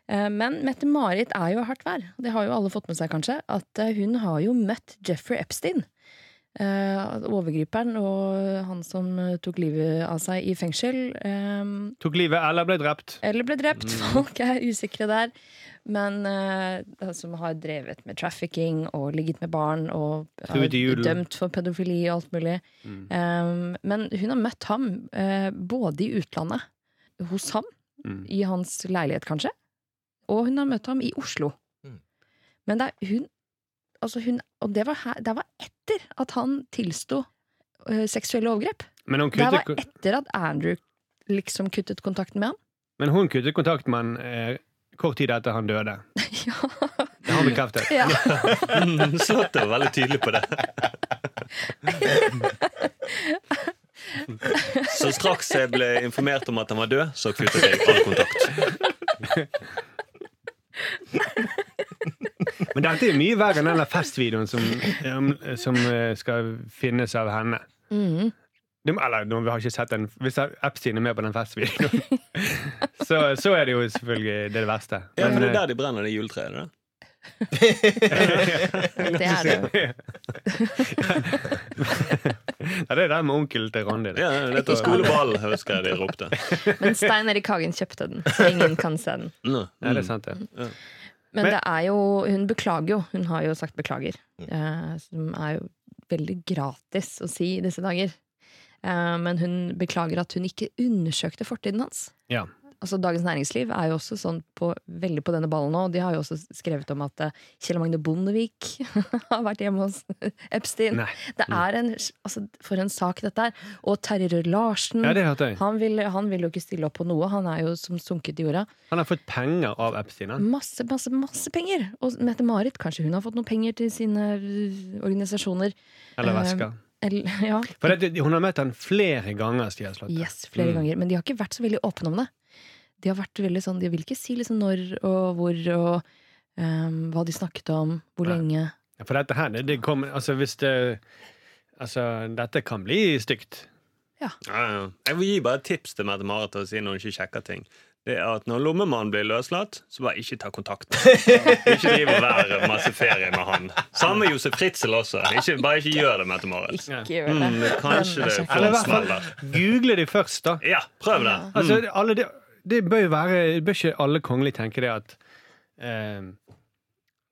[SPEAKER 3] Eh, Men Mette-Marit er jo hardt vær. Det har jo alle fått med seg, kanskje. At eh, hun har jo møtt Jeffrey Epstein. eh, overgriperen og han som eh, tok livet av seg i fengsel. eh,
[SPEAKER 2] Tok livet eller ble drept.
[SPEAKER 3] eller ble drept.
[SPEAKER 2] Mm.
[SPEAKER 3] Folk er usikre der. Men eh, de som har drevet med trafficking og ligget med barn og
[SPEAKER 2] Truet i Mm. julen.
[SPEAKER 3] dømt for pedofili og alt mulig. Um, men hun har møtt ham eh, både i utlandet, hos ham,
[SPEAKER 2] Mm.
[SPEAKER 3] i hans leilighet kanskje, og hun har møtt ham i Oslo.
[SPEAKER 5] Mm.
[SPEAKER 3] Men det er hun, altså hun Og det var, her, det var etter at han tilsto eh, seksuelle overgrep.
[SPEAKER 2] Men hun
[SPEAKER 3] Det
[SPEAKER 2] kuttet,
[SPEAKER 3] var etter at Andrew liksom kuttet kontakten med ham.
[SPEAKER 2] men hun kuttet kontakt med han eh, kort tid etter han døde.
[SPEAKER 3] ja.
[SPEAKER 2] Det har han bekreftet.
[SPEAKER 3] Ja.
[SPEAKER 4] Mm, Slått er veldig tydelig på det. Så straks jeg ble informert om at han var død, så kuttet jeg all kontakt.
[SPEAKER 2] Men dette er jo mye verre enn den der festvideoen som, eh, som eh, skal finnes av henne.
[SPEAKER 3] Mhm.
[SPEAKER 2] Det må- Eller nå, vi har ikke sett den Hvis Epstein er med på den festvideoen, så, så er det jo selvfølgelig det, det verste.
[SPEAKER 4] Ja, men det
[SPEAKER 2] eh,
[SPEAKER 4] er der de brenner det juletreet. er det det?
[SPEAKER 3] Det er det.
[SPEAKER 2] eh, ja, det er der med onkelen til Randi. det.
[SPEAKER 4] Ja, dette er skoleball, husker jeg de ropte.
[SPEAKER 3] Men Stein Erik Hagen kjøpte den, så ingen kan se den.
[SPEAKER 4] Mm.
[SPEAKER 2] Ja, det er sant, det.
[SPEAKER 3] Men,
[SPEAKER 2] Men- Mm.
[SPEAKER 3] det er jo, hun beklager jo. Hun har jo sagt beklager. Eh, som er jo veldig gratis å si i disse dager. Eh, men hun beklager at hun ikke undersøkte fortiden hans.
[SPEAKER 2] Ja.
[SPEAKER 3] Altså Dagens Næringsliv er jo også sånn på, veldig på denne ballen nå. og De har jo også skrevet om at eh, Kjell Magne Bondevik har vært hjemme hos Epstein.
[SPEAKER 2] Nei.
[SPEAKER 3] Det er en, altså, For en sak dette er. Og Terje Rød-Larsen.
[SPEAKER 2] Ja, det hørte jeg.
[SPEAKER 3] Han vil, han vil jo ikke stille opp på noe. Han er jo som sunket i jorda.
[SPEAKER 2] Han har fått penger av Epstein. Han.
[SPEAKER 3] Masse, masse, masse penger! Og Mette-Marit, kanskje hun har fått noen penger til sine øh, organisasjoner?
[SPEAKER 2] Eller
[SPEAKER 3] Eh,
[SPEAKER 2] vesker.
[SPEAKER 3] Eller, ja,
[SPEAKER 2] For det, hun har møtt han flere ganger, Stia Slottet.
[SPEAKER 3] yes, flere ganger. Men de har ikke vært så veldig åpne om det. De har vært veldig sånn, de vil ikke si liksom når og hvor og øhm, hva de snakket om, hvor
[SPEAKER 2] Nei.
[SPEAKER 3] lenge.
[SPEAKER 2] For dette her, det, det kommer Altså, hvis det Altså, dette kan bli stygt.
[SPEAKER 4] Ja, ja. Jeg vil gi bare et tips til Mette-Marit å si når hun ikke sjekker ting. Det er at Når lommemannen blir løslatt, så bare ikke ta kontakt. Ikke driv og vær masse ferie med han. Samme med Josef Fritzel også. Ikke, bare ikke gjør det, Mette-Marit.
[SPEAKER 3] Ikke
[SPEAKER 2] Ja.
[SPEAKER 3] gjør det.
[SPEAKER 4] Mm, kanskje det får
[SPEAKER 2] Eller i
[SPEAKER 4] en
[SPEAKER 2] hvert
[SPEAKER 4] smell
[SPEAKER 2] fall
[SPEAKER 4] der.
[SPEAKER 2] google de først, da.
[SPEAKER 4] Ja, prøv det.
[SPEAKER 2] Altså, alle de, det bør jo være Bør ikke alle kongelige tenke det at eh,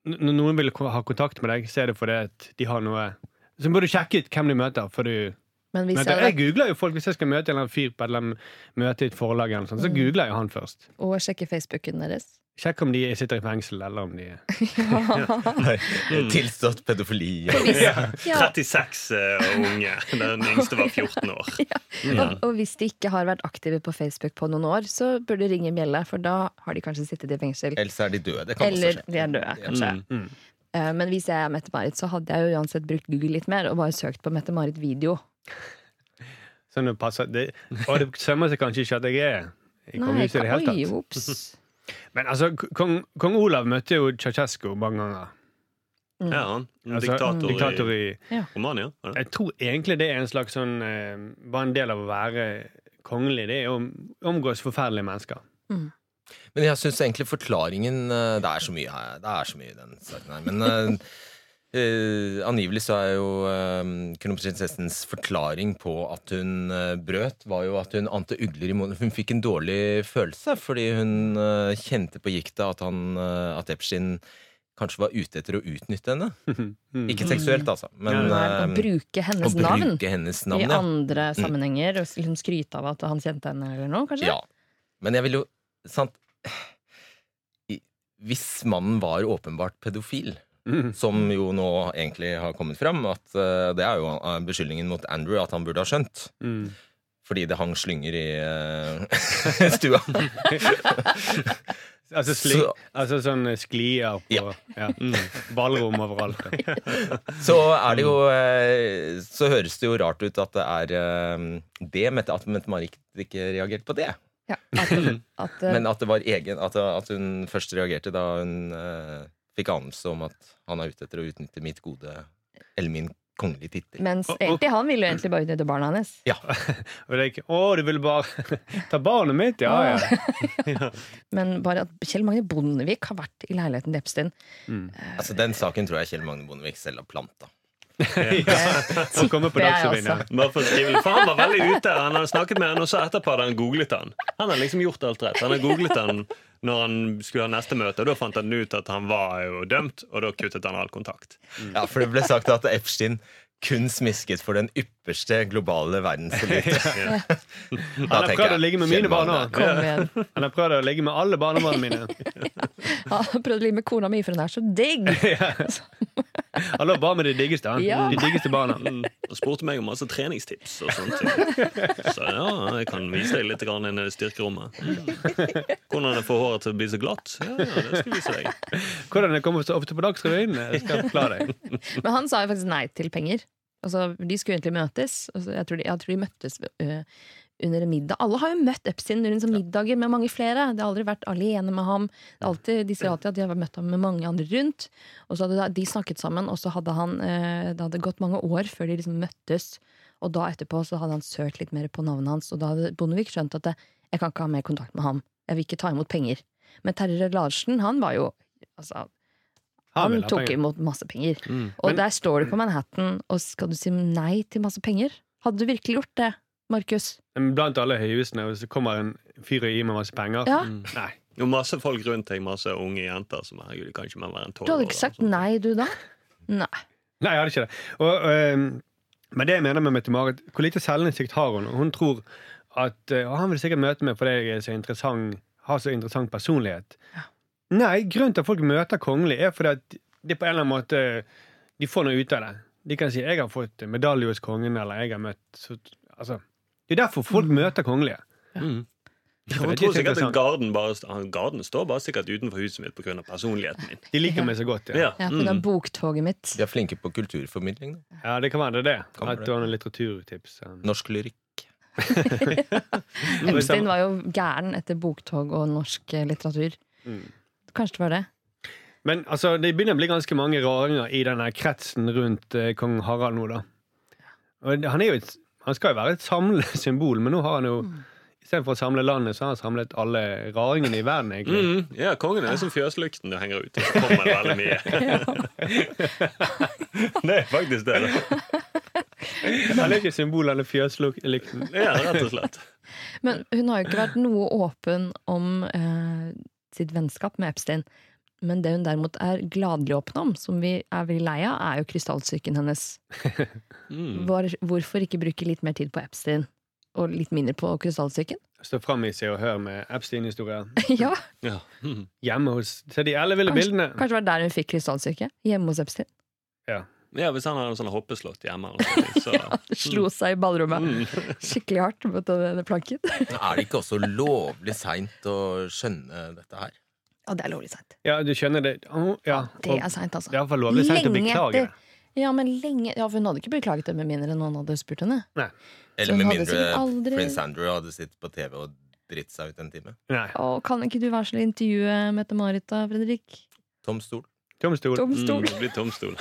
[SPEAKER 2] n- Når noen vil ko- ha kontakt med deg, så er det fordi at de har noe Så må du sjekke ut hvem du møter. For du,
[SPEAKER 3] Men hvis
[SPEAKER 2] men
[SPEAKER 3] jeg,
[SPEAKER 2] jeg googler jo folk hvis jeg skal møte en eller annen fyr på et eller annet møte i et forlag, eller noe sånt, så googler jeg jo han først.
[SPEAKER 3] og sjekke Facebooken deres.
[SPEAKER 2] Sjekk om de sitter i fengsel, eller om de
[SPEAKER 5] Mm. Tilstått pedofili.
[SPEAKER 3] Ja.
[SPEAKER 4] 36 eh, unge. Den yngste var 14 år.
[SPEAKER 3] Og, og hvis de ikke har vært aktive på Facebook på noen år, så burde du ringe en bjelle, for da har de kanskje sittet i fengsel.
[SPEAKER 5] Ellers er de døde. Det kan
[SPEAKER 3] Eller
[SPEAKER 5] også skje.
[SPEAKER 3] de er døde, kanskje.
[SPEAKER 4] Mm.
[SPEAKER 3] Eh, Men hvis jeg er Mette-Marit, så hadde jeg jo uansett brukt Google litt mer og bare søkt på Mette-Marit video.
[SPEAKER 2] Sånn det passer det, Og det sømmer seg kanskje ikke at jeg er i kongehuset i det
[SPEAKER 3] ka-
[SPEAKER 2] hele
[SPEAKER 3] oi,
[SPEAKER 2] tatt.
[SPEAKER 3] ops.
[SPEAKER 2] Men altså, k- kong, kong Olav møtte jo Ceaucescu mange ganger.
[SPEAKER 4] Ja, han. En
[SPEAKER 2] Altså,
[SPEAKER 4] diktator,
[SPEAKER 2] diktator
[SPEAKER 4] i
[SPEAKER 2] i
[SPEAKER 4] Romania. var det?
[SPEAKER 2] Jeg tror egentlig det er en slags sånn eh, Bare en del av å være kongelig. Det er å omgås forferdelige mennesker.
[SPEAKER 5] Men jeg syns egentlig forklaringen eh, Det er så mye her. Det er så mye i den saken her. Men eh, eh, angivelig så er jo eh, kronprinsessens forklaring på at hun eh, brøt, var jo at hun ante ugler i munnen. Hun fikk en dårlig følelse fordi hun eh, kjente på gikta at, han, eh, at Epstein kanskje var ute etter å utnytte henne. Ikke seksuelt, altså, men
[SPEAKER 3] Nei, å
[SPEAKER 5] eh,
[SPEAKER 3] bruke hennes
[SPEAKER 5] å
[SPEAKER 3] navn
[SPEAKER 5] bruke hennes
[SPEAKER 3] i
[SPEAKER 5] navn. ja.
[SPEAKER 3] andre sammenhenger og liksom skryte av at han kjente henne eller noe, kanskje?
[SPEAKER 5] Ja. Men jeg vil jo sant, i- Hvis mannen var åpenbart pedofil,
[SPEAKER 2] Mm.
[SPEAKER 5] som jo nå egentlig har kommet fram at eh, Det er jo eh, beskyldningen mot Andrew at han burde ha skjønt.
[SPEAKER 2] Mm.
[SPEAKER 5] Fordi det hang slynger i eh, stua.
[SPEAKER 2] Altså, sli,
[SPEAKER 5] Så-
[SPEAKER 2] altså sånn sklier på ja. Mm.
[SPEAKER 5] Ja.
[SPEAKER 2] ballrom overalt. Ja.
[SPEAKER 5] Så er det jo eh, Så høres det jo rart ut at det er eh, det Mette, at Mette-Marit ikke reagerte på det.
[SPEAKER 3] Ja, at, at, eh,
[SPEAKER 5] Men at det var egen At, at hun først reagerte da hun eh, fikk anelse om at han er ute etter å utnytte mitt gode Eller min kongelige tittel.
[SPEAKER 3] mens egentlig han ville jo egentlig bare utnytte barna hennes.
[SPEAKER 5] Ja.
[SPEAKER 2] Og det er ikke Å, du vil bare ta barnet mitt? Ja, ja.
[SPEAKER 3] Men bare at Kjell Magne Bondevik har vært i leiligheten til Epstein.
[SPEAKER 5] Altså Den saken tror jeg Kjell Magne Bondevik selv har planta.
[SPEAKER 2] Å komme på
[SPEAKER 3] Tipper
[SPEAKER 2] Dagsrevyen.
[SPEAKER 3] jeg
[SPEAKER 2] ja.
[SPEAKER 4] Bare for å skrive litt. For han var veldig ute. Han hadde snakket med han, og så etterpå hadde han googlet han. Han hadde liksom gjort alt rett. Han hadde googlet han når han skulle ha neste møte, og da fant han ut at han var jo dømt, og da kuttet han all kontakt.
[SPEAKER 2] Mm.
[SPEAKER 5] Ja, for det ble sagt at Epstein kun smisket for den ypperste globale verdenselite.
[SPEAKER 4] Ja.
[SPEAKER 5] Da
[SPEAKER 2] Han har
[SPEAKER 5] tenker
[SPEAKER 2] prøvd
[SPEAKER 5] jeg,
[SPEAKER 2] å ligge med mine
[SPEAKER 5] kjenner
[SPEAKER 2] barn
[SPEAKER 5] man det.
[SPEAKER 2] òg.
[SPEAKER 3] Kom igjen.
[SPEAKER 2] Han har prøvd å ligge med alle barnebarna mine.
[SPEAKER 3] Ja, jeg prøvde å ligge med kona mi, for hun er så digg!
[SPEAKER 2] Han lå bare med de diggeste. Han.
[SPEAKER 3] Ja.
[SPEAKER 2] De diggeste barna.
[SPEAKER 4] Mm. Og spurte meg om masse treningstips og sånne ting. Så ja, jeg kan vise deg litt grann inn i styrkerommet. Ja. Hvordan jeg får håret til å bli så glatt. Ja, ja, det skal jeg vise deg.
[SPEAKER 2] Hvordan jeg kommer så ofte på Dagsrevyen, jeg skal jeg forklare deg.
[SPEAKER 3] Men han sa jo faktisk nei til penger. Altså, de skulle egentlig møtes. og så- jeg, tror de, jeg tror de møttes ø, under en middag. Alle har jo møtt Epstein under sånne middager med mange flere. Det har aldri vært alene med ham. Det er alltid, de sier alltid at de har møtt ham med mange andre rundt. Og så hadde da- de snakket sammen, og så hadde han ø, Det hadde gått mange år før de liksom møttes. Og da etterpå så hadde han søkt litt mer på navnet hans, og da hadde Bondevik skjønt at det, jeg kan ikke ha mer kontakt med ham. Jeg vil ikke ta imot penger. Men Terje Larsen, han var jo altså,
[SPEAKER 2] Han
[SPEAKER 3] han
[SPEAKER 2] vil ha
[SPEAKER 3] tok
[SPEAKER 2] penger.
[SPEAKER 3] imot masse penger.
[SPEAKER 2] Mm.
[SPEAKER 3] Og
[SPEAKER 2] Men-
[SPEAKER 3] der står du på Manhattan, og skal du si nei til masse penger? Hadde du virkelig gjort det, Markus?
[SPEAKER 2] Men Blant alle høyhusene, og så kommer en fyr og gir meg masse penger. mm.
[SPEAKER 3] Ja.
[SPEAKER 2] Nei.
[SPEAKER 4] Jo, masse folk rundt deg, masse unge jenter som herregud, kan ikke mer være en sånn.
[SPEAKER 3] Du
[SPEAKER 4] tolv
[SPEAKER 3] hadde ikke
[SPEAKER 2] sånn.
[SPEAKER 3] sagt nei, du da? Nei.
[SPEAKER 2] Nei, jeg hadde ikke det. Og, øhm, men det jeg mener med Mette-Marit, hvor lite selvinnsikt har hun? Hun tror at øh, han vil sikkert møte meg fordi jeg er så interessant, har så interessant personlighet. Nei, grunnen til at folk møter kongelig, er fordi at de på en eller annen måte De får noe ut av det. De kan si 'jeg har fått medalje hos kongen', eller 'jeg har møtt så, altså, Det er derfor folk møter kongelige.
[SPEAKER 4] Mm. Hun
[SPEAKER 2] Det er sånn.
[SPEAKER 4] tror
[SPEAKER 2] litt
[SPEAKER 4] sikkert at
[SPEAKER 2] interessant.
[SPEAKER 4] garden, bare, han- garden står bare sikkert utenfor huset mitt pga. personligheten min.
[SPEAKER 2] De liker meg så godt. Ja,
[SPEAKER 4] Ja.
[SPEAKER 3] Ja, på det
[SPEAKER 4] Mm.
[SPEAKER 3] boktoget mitt.
[SPEAKER 5] De er flinke på kulturformidling. Da.
[SPEAKER 2] ja det kan være det. er det.
[SPEAKER 5] Kan være
[SPEAKER 2] At du har noen litteraturtips.
[SPEAKER 5] Norsk lyrikk.
[SPEAKER 3] Epstein var jo gæren etter boktog og norsk eh, litteratur.
[SPEAKER 2] Mm.
[SPEAKER 3] Kanskje det var det.
[SPEAKER 2] Men altså, det begynner å bli ganske mange raringer i denne kretsen rundt eh, kong Harald nå, da. Og han, er jo et, han skal jo være et samlesymbol, men nå har han jo
[SPEAKER 3] Mm.
[SPEAKER 2] Istedenfor å samle landet, så har han samlet alle raringene i verden, egentlig.
[SPEAKER 4] Mm. ja, kongen er som fjøslykten du henger ut. Så kommer det veldig mye. det er faktisk det. da.
[SPEAKER 3] Mm.
[SPEAKER 2] Han er ikke et symbol, han er fjøslykten.
[SPEAKER 4] Ja, rett og slett.
[SPEAKER 3] Men hun har jo ikke vært noe åpen om eh, sitt vennskap med Epstein. Men det hun derimot er gladelig åpen om, som vi er veldig lei av, er jo krystallsyken hennes.
[SPEAKER 4] Mm.
[SPEAKER 3] Hvor, hvorfor ikke bruke litt mer tid på Epstein og litt mindre på krystallsyken?
[SPEAKER 2] Står fram i Se og Hør med Epstein-historier.
[SPEAKER 3] ja,
[SPEAKER 4] Ja. Mm.
[SPEAKER 2] Hjemme hos Se de elleville
[SPEAKER 3] Kanskje-
[SPEAKER 2] bildene!
[SPEAKER 3] Kanskje det var der hun fikk krystallsyke? Hjemme hos Epstein.
[SPEAKER 4] ja, Hvis han har en sånn hoppeslott hjemme, eller noe, så
[SPEAKER 3] Ja, det slo seg i
[SPEAKER 4] Mm.
[SPEAKER 3] ballrommet skikkelig hardt mot denne planken.
[SPEAKER 5] Men Er det ikke også lovlig seint å skjønne dette her?
[SPEAKER 3] Ja, det er lovlig seint.
[SPEAKER 2] Ja, du skjønner det. Å, Ja,
[SPEAKER 3] Det
[SPEAKER 2] og
[SPEAKER 3] er
[SPEAKER 2] det
[SPEAKER 3] seint,
[SPEAKER 2] er
[SPEAKER 3] altså.
[SPEAKER 2] iallfall lovlig sent å
[SPEAKER 3] Lenge
[SPEAKER 2] beklage.
[SPEAKER 3] etter. Ja, men lenge Ja, for hun hadde ikke beklaget det med mindre noen hadde spurt henne.
[SPEAKER 2] Nei.
[SPEAKER 5] Eller
[SPEAKER 3] Så
[SPEAKER 5] med
[SPEAKER 3] hadde
[SPEAKER 5] mindre
[SPEAKER 3] sikkert aldri-
[SPEAKER 5] prins Andrew hadde sittet på TV og dritt seg ut en time.
[SPEAKER 2] Nei.
[SPEAKER 3] Å, kan ikke du være så snill å intervjue Mette-Marit, da, Fredrik?
[SPEAKER 5] Tom Stol.
[SPEAKER 2] Tom Stol.
[SPEAKER 4] Mm,
[SPEAKER 3] Domstol.
[SPEAKER 4] det blir tomstol.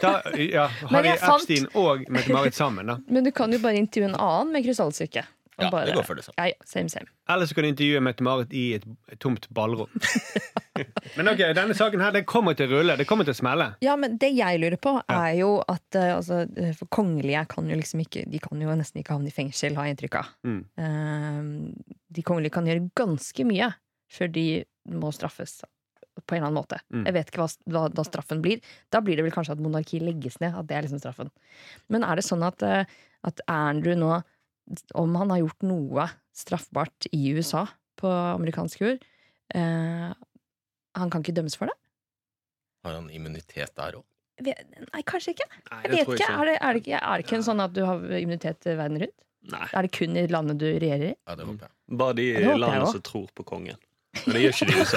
[SPEAKER 2] Da, ja, har
[SPEAKER 3] Men
[SPEAKER 2] de
[SPEAKER 3] jeg fant-
[SPEAKER 2] Epstein og Mette-Marit sammen, da?
[SPEAKER 3] Men du kan jo bare intervjue en annen med krystallsyke. Og
[SPEAKER 5] Ja,
[SPEAKER 3] bare-
[SPEAKER 5] det går for det samme.
[SPEAKER 3] Ja, ja, same, same.
[SPEAKER 2] Eller så kan du intervjue Mette-Marit i et et tomt ballrom. Men ok, denne saken her, det kommer til å rulle. Det kommer til å smelle.
[SPEAKER 3] Ja, men det jeg lurer på
[SPEAKER 2] Ja.
[SPEAKER 3] er jo at eh, altså, eh, for kongelige kan jo liksom ikke De kan jo nesten ikke havne i fengsel, har jeg inntrykk av.
[SPEAKER 2] Mm.
[SPEAKER 3] Eh, de kongelige kan gjøre ganske mye før de må straffes på en eller annen måte.
[SPEAKER 2] Mm.
[SPEAKER 3] Jeg vet ikke hva, hva da straffen blir. Da blir det vel kanskje at monarkiet legges ned. At det er liksom straffen. Men er det sånn at, eh, at Andrew nå, om han har gjort noe straffbart i USA på amerikansk jord, eh, han kan ikke dømmes for det?
[SPEAKER 5] Har han immunitet der òg?
[SPEAKER 3] Vet- Nei, kanskje ikke.
[SPEAKER 4] Nei,
[SPEAKER 3] Jeg vet ikke. Er det, er det, ikke- er det kun sånn at du har immunitet verden rundt?
[SPEAKER 4] Nei,
[SPEAKER 3] Er det kun i landet du regjerer i?
[SPEAKER 5] Ja, det håper jeg.
[SPEAKER 4] Bare de
[SPEAKER 3] Det håper jeg
[SPEAKER 4] landene
[SPEAKER 3] også.
[SPEAKER 4] som tror på kongen. Men det gjør ikke de i USA.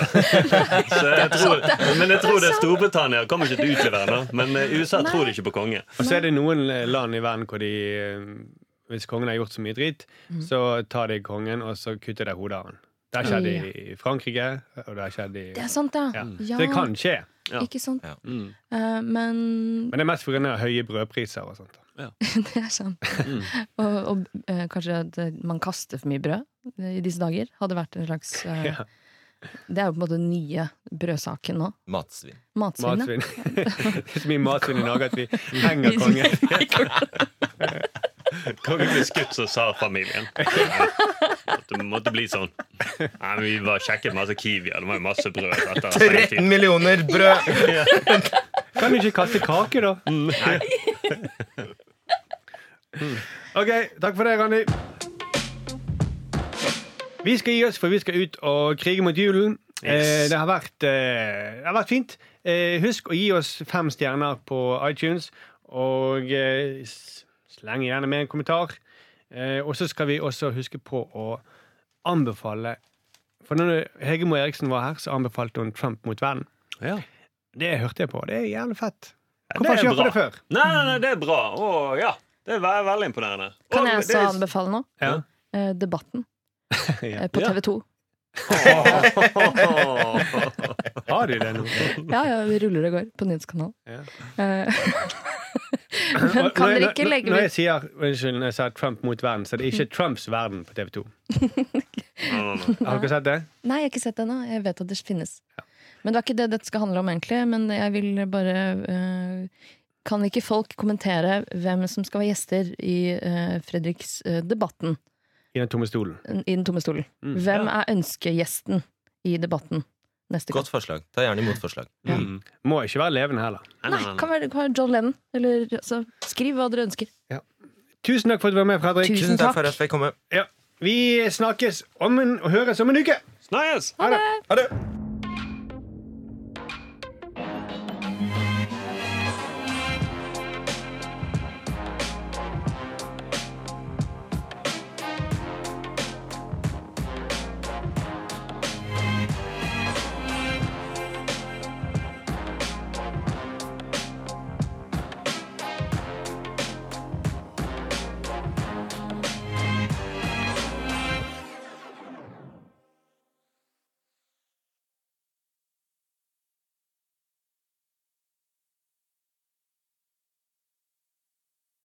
[SPEAKER 4] Så jeg tror, men jeg tror det er Storbritannia. Kommer ikke til å utlevere noe. Men eh, USA
[SPEAKER 3] Nei.
[SPEAKER 4] tror ikke på kongen.
[SPEAKER 2] Og så er det noen eh, land i verden hvor de eh, Hvis kongen har gjort så mye dritt, så tar de kongen, og så kutter de hodet av han. Det har skjedd i i Frankrike, og det har skjedd i
[SPEAKER 3] Det er sant, ja.
[SPEAKER 2] ja.
[SPEAKER 3] Ja,
[SPEAKER 2] Så det kan skje.
[SPEAKER 4] Ja.
[SPEAKER 3] Ikke sant.
[SPEAKER 5] Ja.
[SPEAKER 4] Mm.
[SPEAKER 3] Eh, men
[SPEAKER 2] Men det er mest pga. høye brødpriser og sånt.
[SPEAKER 3] det er sant.
[SPEAKER 2] Mm.
[SPEAKER 3] og og eh, kanskje at eh, man kaster for mye brød eh, i disse dager. Hadde vært en slags eh,
[SPEAKER 2] Ja.
[SPEAKER 3] Det er jo på en måte den nye brødsaken nå.
[SPEAKER 5] Matsvinn.
[SPEAKER 3] Matsvinnet.
[SPEAKER 2] Matsvinn. det er så mye matsvinn i Norge at vi henger kongen.
[SPEAKER 4] Kongen ble skutt, så sa familien. Det måtte bli sånn. Nei, men Vi var sjekket masse Kiwi, og det var jo masse brød. Etter
[SPEAKER 5] 13 millioner brød!
[SPEAKER 2] Kan du ikke kaste kake, da?
[SPEAKER 4] Mm.
[SPEAKER 2] Ok, takk for det, Randi. Vi skal gi oss, for vi skal ut og krige mot julen. Eh,
[SPEAKER 4] Yes.
[SPEAKER 2] det, har vært, eh, det har vært fint. Eh, husk å gi oss fem stjerner på iTunes, og eh, s- sleng gjerne med en kommentar. Eh, og så skal vi også huske på å anbefale For når Hege Moe Eriksen var her, så anbefalte hun Trump mot verden.
[SPEAKER 4] Ja.
[SPEAKER 2] Det hørte jeg på. Det er jævlig fett.
[SPEAKER 4] Ja,
[SPEAKER 2] Hvorfor har
[SPEAKER 4] det
[SPEAKER 2] ikke
[SPEAKER 4] er
[SPEAKER 2] jeg hørt det
[SPEAKER 4] bra.
[SPEAKER 2] før?
[SPEAKER 4] Nei, nei, nei, det er bra. Å, ja. Det er veldig imponerende.
[SPEAKER 3] Kan
[SPEAKER 4] Og
[SPEAKER 3] jeg
[SPEAKER 4] det
[SPEAKER 3] også anbefale noe?
[SPEAKER 2] Ja.
[SPEAKER 3] Eh, debatten
[SPEAKER 2] Ja.
[SPEAKER 3] eh, på
[SPEAKER 4] Ja.
[SPEAKER 3] TV 2.
[SPEAKER 4] er-
[SPEAKER 2] Har de det nå?
[SPEAKER 3] Ja, ja, vi ruller og går på nyhetskanalen.
[SPEAKER 2] Ja.
[SPEAKER 3] Eh,
[SPEAKER 2] Når-
[SPEAKER 3] Men kan dere
[SPEAKER 2] når-
[SPEAKER 3] ikke legge Mm.
[SPEAKER 2] Når jeg
[SPEAKER 3] ut
[SPEAKER 2] sier unnskyld, når jeg sa Trump mot verden, så er det ikke Trumps verden på TV 2. Har dere sett det?
[SPEAKER 3] Nei, jeg har ikke sett det ennå. Jeg vet at det finnes. Men det er ikke det dette skal handle om, egentlig. Men jeg vil bare eh, Kan ikke folk kommentere hvem som skal være gjester i eh, Fredriks eh, Debatten?
[SPEAKER 2] I den tomme stolen.
[SPEAKER 3] I Den tomme stolen. Hvem er ønskegjesten i Debatten neste gang?
[SPEAKER 5] Godt forslag. Ta gjerne imot forslag.
[SPEAKER 4] Mm.
[SPEAKER 2] Må ikke være levende heller.
[SPEAKER 3] Nei, kan være, kan være John Lennon. Eller altså, skriv hva dere ønsker.
[SPEAKER 2] Tusen takk for at du var med, Fredrik.
[SPEAKER 3] Tusen
[SPEAKER 5] Tusen takk
[SPEAKER 3] takk.
[SPEAKER 5] for at jeg fikk komme.
[SPEAKER 2] Ja. Vi snakkes om en, og høres om en uke.
[SPEAKER 4] Snakkes!
[SPEAKER 3] Ha det!
[SPEAKER 5] Ha det!